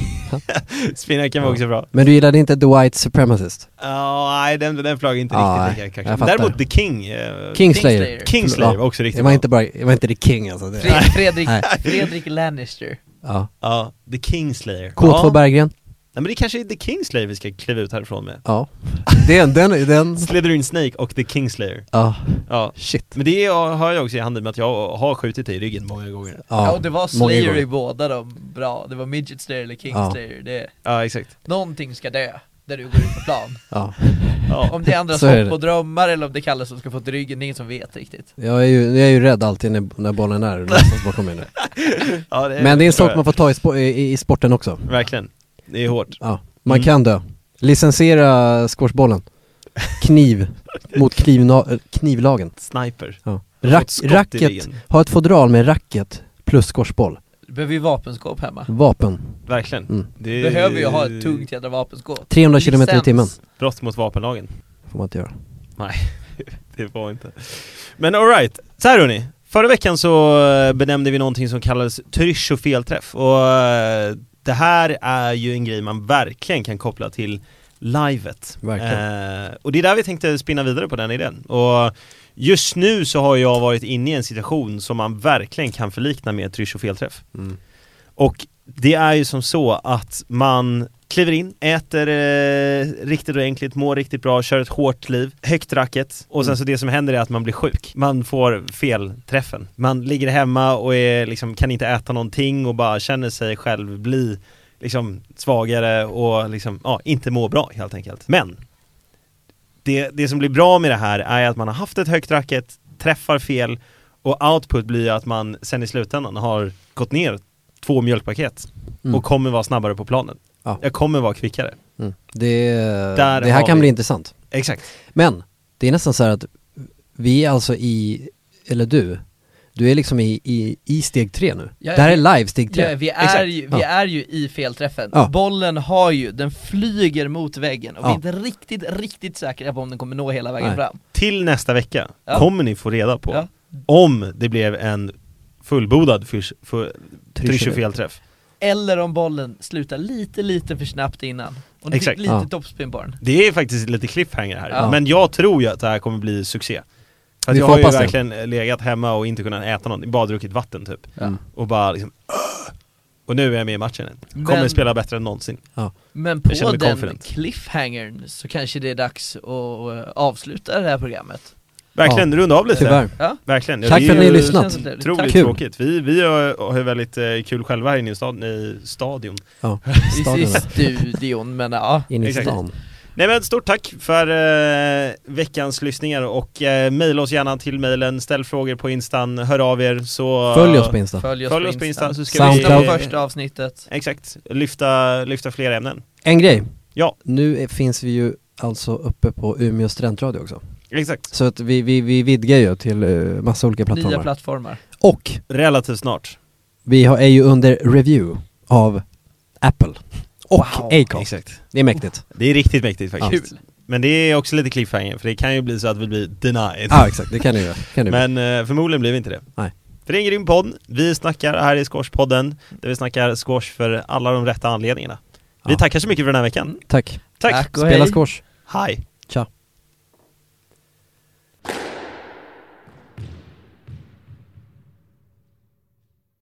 [SPEAKER 5] Spinnaken var också bra.
[SPEAKER 4] Men du gillade inte The White Supremacist?
[SPEAKER 5] Eh, Ja, nej den, den flög inte
[SPEAKER 4] Ja,
[SPEAKER 5] riktigt
[SPEAKER 4] nej.
[SPEAKER 5] lika
[SPEAKER 4] Jag
[SPEAKER 5] kanske.
[SPEAKER 4] fattar.
[SPEAKER 5] Däremot The King, eh,
[SPEAKER 4] Kingslayer?
[SPEAKER 6] Kingslayer.
[SPEAKER 5] Kingslayer var
[SPEAKER 4] Ja.
[SPEAKER 5] också riktigt
[SPEAKER 4] Det var
[SPEAKER 5] bra.
[SPEAKER 4] inte bara, det var inte The King alltså. Det,
[SPEAKER 6] Fre- Fredrik,
[SPEAKER 4] Nej.
[SPEAKER 6] Fredrik Lannister.
[SPEAKER 4] ja.
[SPEAKER 5] Ja, The Kingslayer.
[SPEAKER 4] K2
[SPEAKER 5] ja.
[SPEAKER 4] Berggren?
[SPEAKER 5] Nej men det kanske är The Kingslayer vi ska kliva ut härifrån med.
[SPEAKER 4] Ja. Den, den, den.
[SPEAKER 5] Slytherin Snake och The Kingslayer.
[SPEAKER 4] Ja.
[SPEAKER 5] Ja.
[SPEAKER 4] Shit.
[SPEAKER 5] Men det har jag också i handen med att jag har skjutit dig i ryggen många gånger.
[SPEAKER 6] Ja, och det var
[SPEAKER 4] många
[SPEAKER 6] Slayer i
[SPEAKER 4] gånger.
[SPEAKER 6] båda de bra. Det var Midget Slayer eller King
[SPEAKER 4] Ja.
[SPEAKER 6] Slayer. Det är,
[SPEAKER 5] Ja, exakt.
[SPEAKER 6] någonting ska dö där du går ut på plan.
[SPEAKER 4] Ja.
[SPEAKER 5] Ja.
[SPEAKER 6] Om det är andras
[SPEAKER 4] Så är det.
[SPEAKER 6] hopp och drömmar eller om det är Kalle som ska få ett ryggen, det är ingen som vet riktigt.
[SPEAKER 4] Jag är ju, jag är ju rädd alltid när, när bollen är någonstans bakom mig nu.
[SPEAKER 5] Ja,
[SPEAKER 4] Men det är en
[SPEAKER 5] tror
[SPEAKER 4] sak
[SPEAKER 5] jag.
[SPEAKER 4] man får ta i, spo- i, i sporten också.
[SPEAKER 5] Verkligen. Det är hårt.
[SPEAKER 4] Ja, man
[SPEAKER 5] Mm.
[SPEAKER 4] kan dö. Licensiera squashbollen. Kniv mot knivna, eh, knivlagen.
[SPEAKER 5] Sniper.
[SPEAKER 4] Ja.
[SPEAKER 5] har
[SPEAKER 4] Rack,
[SPEAKER 5] fått skott i
[SPEAKER 4] racket,
[SPEAKER 5] ryggen.
[SPEAKER 4] ha ett fodral med racket plus squashboll.
[SPEAKER 6] Du behöver ju vapenskåp hemma.
[SPEAKER 4] Vapen.
[SPEAKER 5] Verkligen.
[SPEAKER 4] Mm.
[SPEAKER 5] Det är-
[SPEAKER 6] Behöver ju ha ett tungt jädra vapenskåp.
[SPEAKER 4] 300 kilometer i
[SPEAKER 6] Licens.
[SPEAKER 4] timmen
[SPEAKER 5] Brott mot vapenlagen.
[SPEAKER 4] får man inte göra.
[SPEAKER 5] Nej. det var inte. Men alright, så här hörni. Förra veckan så eh, benämnde vi någonting som kallades trysch och felträff och eh, det här är ju en grej man verkligen kan koppla till livet.
[SPEAKER 4] Verkligen.
[SPEAKER 5] Eh, och det är där vi tänkte spinna vidare på den idén. Och just nu så har jag varit inne i en situation som man verkligen kan förlikna med trysch och felträff.
[SPEAKER 4] Mm.
[SPEAKER 5] Och det är ju som så att man kliver in, äter eh, riktigt ordentligt, mår riktigt bra, kör ett hårt liv, högt racket och sen
[SPEAKER 4] Mm.
[SPEAKER 5] så det som händer är att man blir sjuk. Man får felträffen. Man ligger hemma och är, liksom, kan inte äta någonting och bara känner sig själv bli liksom, svagare och liksom, ja, inte må bra helt enkelt. Men det, det som blir bra med det här är att man har haft ett högt racket, träffar fel och output blir att man sen i slutändan har gått ner två mjölkpaket
[SPEAKER 4] Mm.
[SPEAKER 5] och kommer vara snabbare på planen.
[SPEAKER 4] Ja.
[SPEAKER 5] Jag kommer vara kvickare.
[SPEAKER 4] Mm. Det,
[SPEAKER 5] Där
[SPEAKER 4] det här
[SPEAKER 5] har
[SPEAKER 4] kan
[SPEAKER 5] vi.
[SPEAKER 4] bli intressant.
[SPEAKER 5] Exakt.
[SPEAKER 4] Men det är nästan så här att vi är alltså i, eller du, du är liksom i, i, i steg tre nu.
[SPEAKER 6] Ja,
[SPEAKER 4] det här
[SPEAKER 6] vi-
[SPEAKER 4] är live steg tre.
[SPEAKER 6] Ja, vi är
[SPEAKER 5] Exakt.
[SPEAKER 6] ju,
[SPEAKER 4] Ja.
[SPEAKER 6] vi är ju i felträffen,
[SPEAKER 4] Ja.
[SPEAKER 6] bollen har ju, den flyger mot väggen och vi
[SPEAKER 4] Ja.
[SPEAKER 6] är inte riktigt, riktigt säkra på om den kommer nå hela vägen
[SPEAKER 4] Nej.
[SPEAKER 6] fram
[SPEAKER 5] Till nästa vecka
[SPEAKER 6] Ja.
[SPEAKER 5] kommer ni få reda på
[SPEAKER 6] Ja.
[SPEAKER 5] om det blev en fullbordad fyrs- fu- trysch och felträff.
[SPEAKER 6] Eller om bollen slutar lite, lite för snabbt innan Och det
[SPEAKER 5] Exakt.
[SPEAKER 6] fick lite
[SPEAKER 4] Ja.
[SPEAKER 6] toppspin på den
[SPEAKER 5] Det är faktiskt lite cliffhanger här,
[SPEAKER 6] Ja.
[SPEAKER 5] men jag tror ju att det här kommer bli succé. För Att
[SPEAKER 4] Vi
[SPEAKER 5] jag
[SPEAKER 4] får
[SPEAKER 5] har ju
[SPEAKER 4] hoppas det.
[SPEAKER 5] verkligen legat hemma och inte kunnat äta någonting, bara druckit vatten typ.
[SPEAKER 4] Mm.
[SPEAKER 5] Och bara liksom "Åh!" Och nu är jag med i matchen igen. Kommer
[SPEAKER 6] Men-
[SPEAKER 5] spela bättre än någonsin.
[SPEAKER 6] Men
[SPEAKER 5] Jag känner
[SPEAKER 6] på
[SPEAKER 5] mig
[SPEAKER 6] den
[SPEAKER 5] confident.
[SPEAKER 6] cliffhangern så kanske det är dags att eh, avsluta det här programmet
[SPEAKER 5] Verkligen, runda av lite.
[SPEAKER 4] Tyvärr.
[SPEAKER 6] Ja,
[SPEAKER 5] Verkligen.
[SPEAKER 4] Tack
[SPEAKER 5] det
[SPEAKER 4] för
[SPEAKER 5] är
[SPEAKER 4] att ni
[SPEAKER 5] ju-
[SPEAKER 4] har lyssnat.
[SPEAKER 6] känns otroligt.
[SPEAKER 5] Otroligt
[SPEAKER 6] Tack.
[SPEAKER 4] Kul.
[SPEAKER 5] tråkigt. Vi, vi har, har ju väldigt eh, kul själva här inne i, stad, i stadion.
[SPEAKER 4] Ja,
[SPEAKER 6] I
[SPEAKER 4] stadion.
[SPEAKER 6] studion men ja
[SPEAKER 4] In i
[SPEAKER 5] Exakt.
[SPEAKER 4] stan.
[SPEAKER 5] Nej men stort tack för eh, veckans lyssningar och eh, mejla oss gärna till mejlen, ställ frågor på instan, hör av er så
[SPEAKER 4] Följ oss på Insta.
[SPEAKER 6] Följ oss,
[SPEAKER 5] Följ
[SPEAKER 6] på,
[SPEAKER 5] oss på
[SPEAKER 6] Insta,
[SPEAKER 5] Insta så ska
[SPEAKER 4] vi-
[SPEAKER 6] Lyssna på
[SPEAKER 5] Soundcloud.
[SPEAKER 6] första avsnittet
[SPEAKER 5] Exakt, lyfta, lyfta fler ämnen.
[SPEAKER 4] En grej.
[SPEAKER 5] Ja.
[SPEAKER 4] Nu är, finns vi ju alltså uppe på Umeå studentradio också.
[SPEAKER 5] Exakt.
[SPEAKER 4] Så att vi, vi, vi vidgar ju till eh, massa olika plattformar.
[SPEAKER 6] Nya plattformar
[SPEAKER 4] och
[SPEAKER 5] Relativt snart.
[SPEAKER 4] vi har, är ju under review av Apple och
[SPEAKER 6] Wow.
[SPEAKER 4] Acast.
[SPEAKER 5] Exakt.
[SPEAKER 4] Det är mäktigt.
[SPEAKER 5] Det är riktigt mäktigt faktiskt.
[SPEAKER 6] Kul!
[SPEAKER 5] Men det är också lite cliffhanger för det kan ju bli så att vi blir denied.
[SPEAKER 4] Ja, ah, exakt. Det kan du göra. Kan du göra.
[SPEAKER 5] Men eh, förmodligen blir vi inte det.
[SPEAKER 4] Nej.
[SPEAKER 5] För det är en grym podd. Vi snackar här i Squashpodden, där vi snackar squash för alla de rätta anledningarna. Vi
[SPEAKER 4] Ja.
[SPEAKER 5] tackar så mycket för den här veckan.
[SPEAKER 4] Tack.
[SPEAKER 5] Tack!
[SPEAKER 6] Tack. Gå
[SPEAKER 4] Spela
[SPEAKER 6] hej.
[SPEAKER 4] squash.
[SPEAKER 5] Hej!
[SPEAKER 4] Ciao.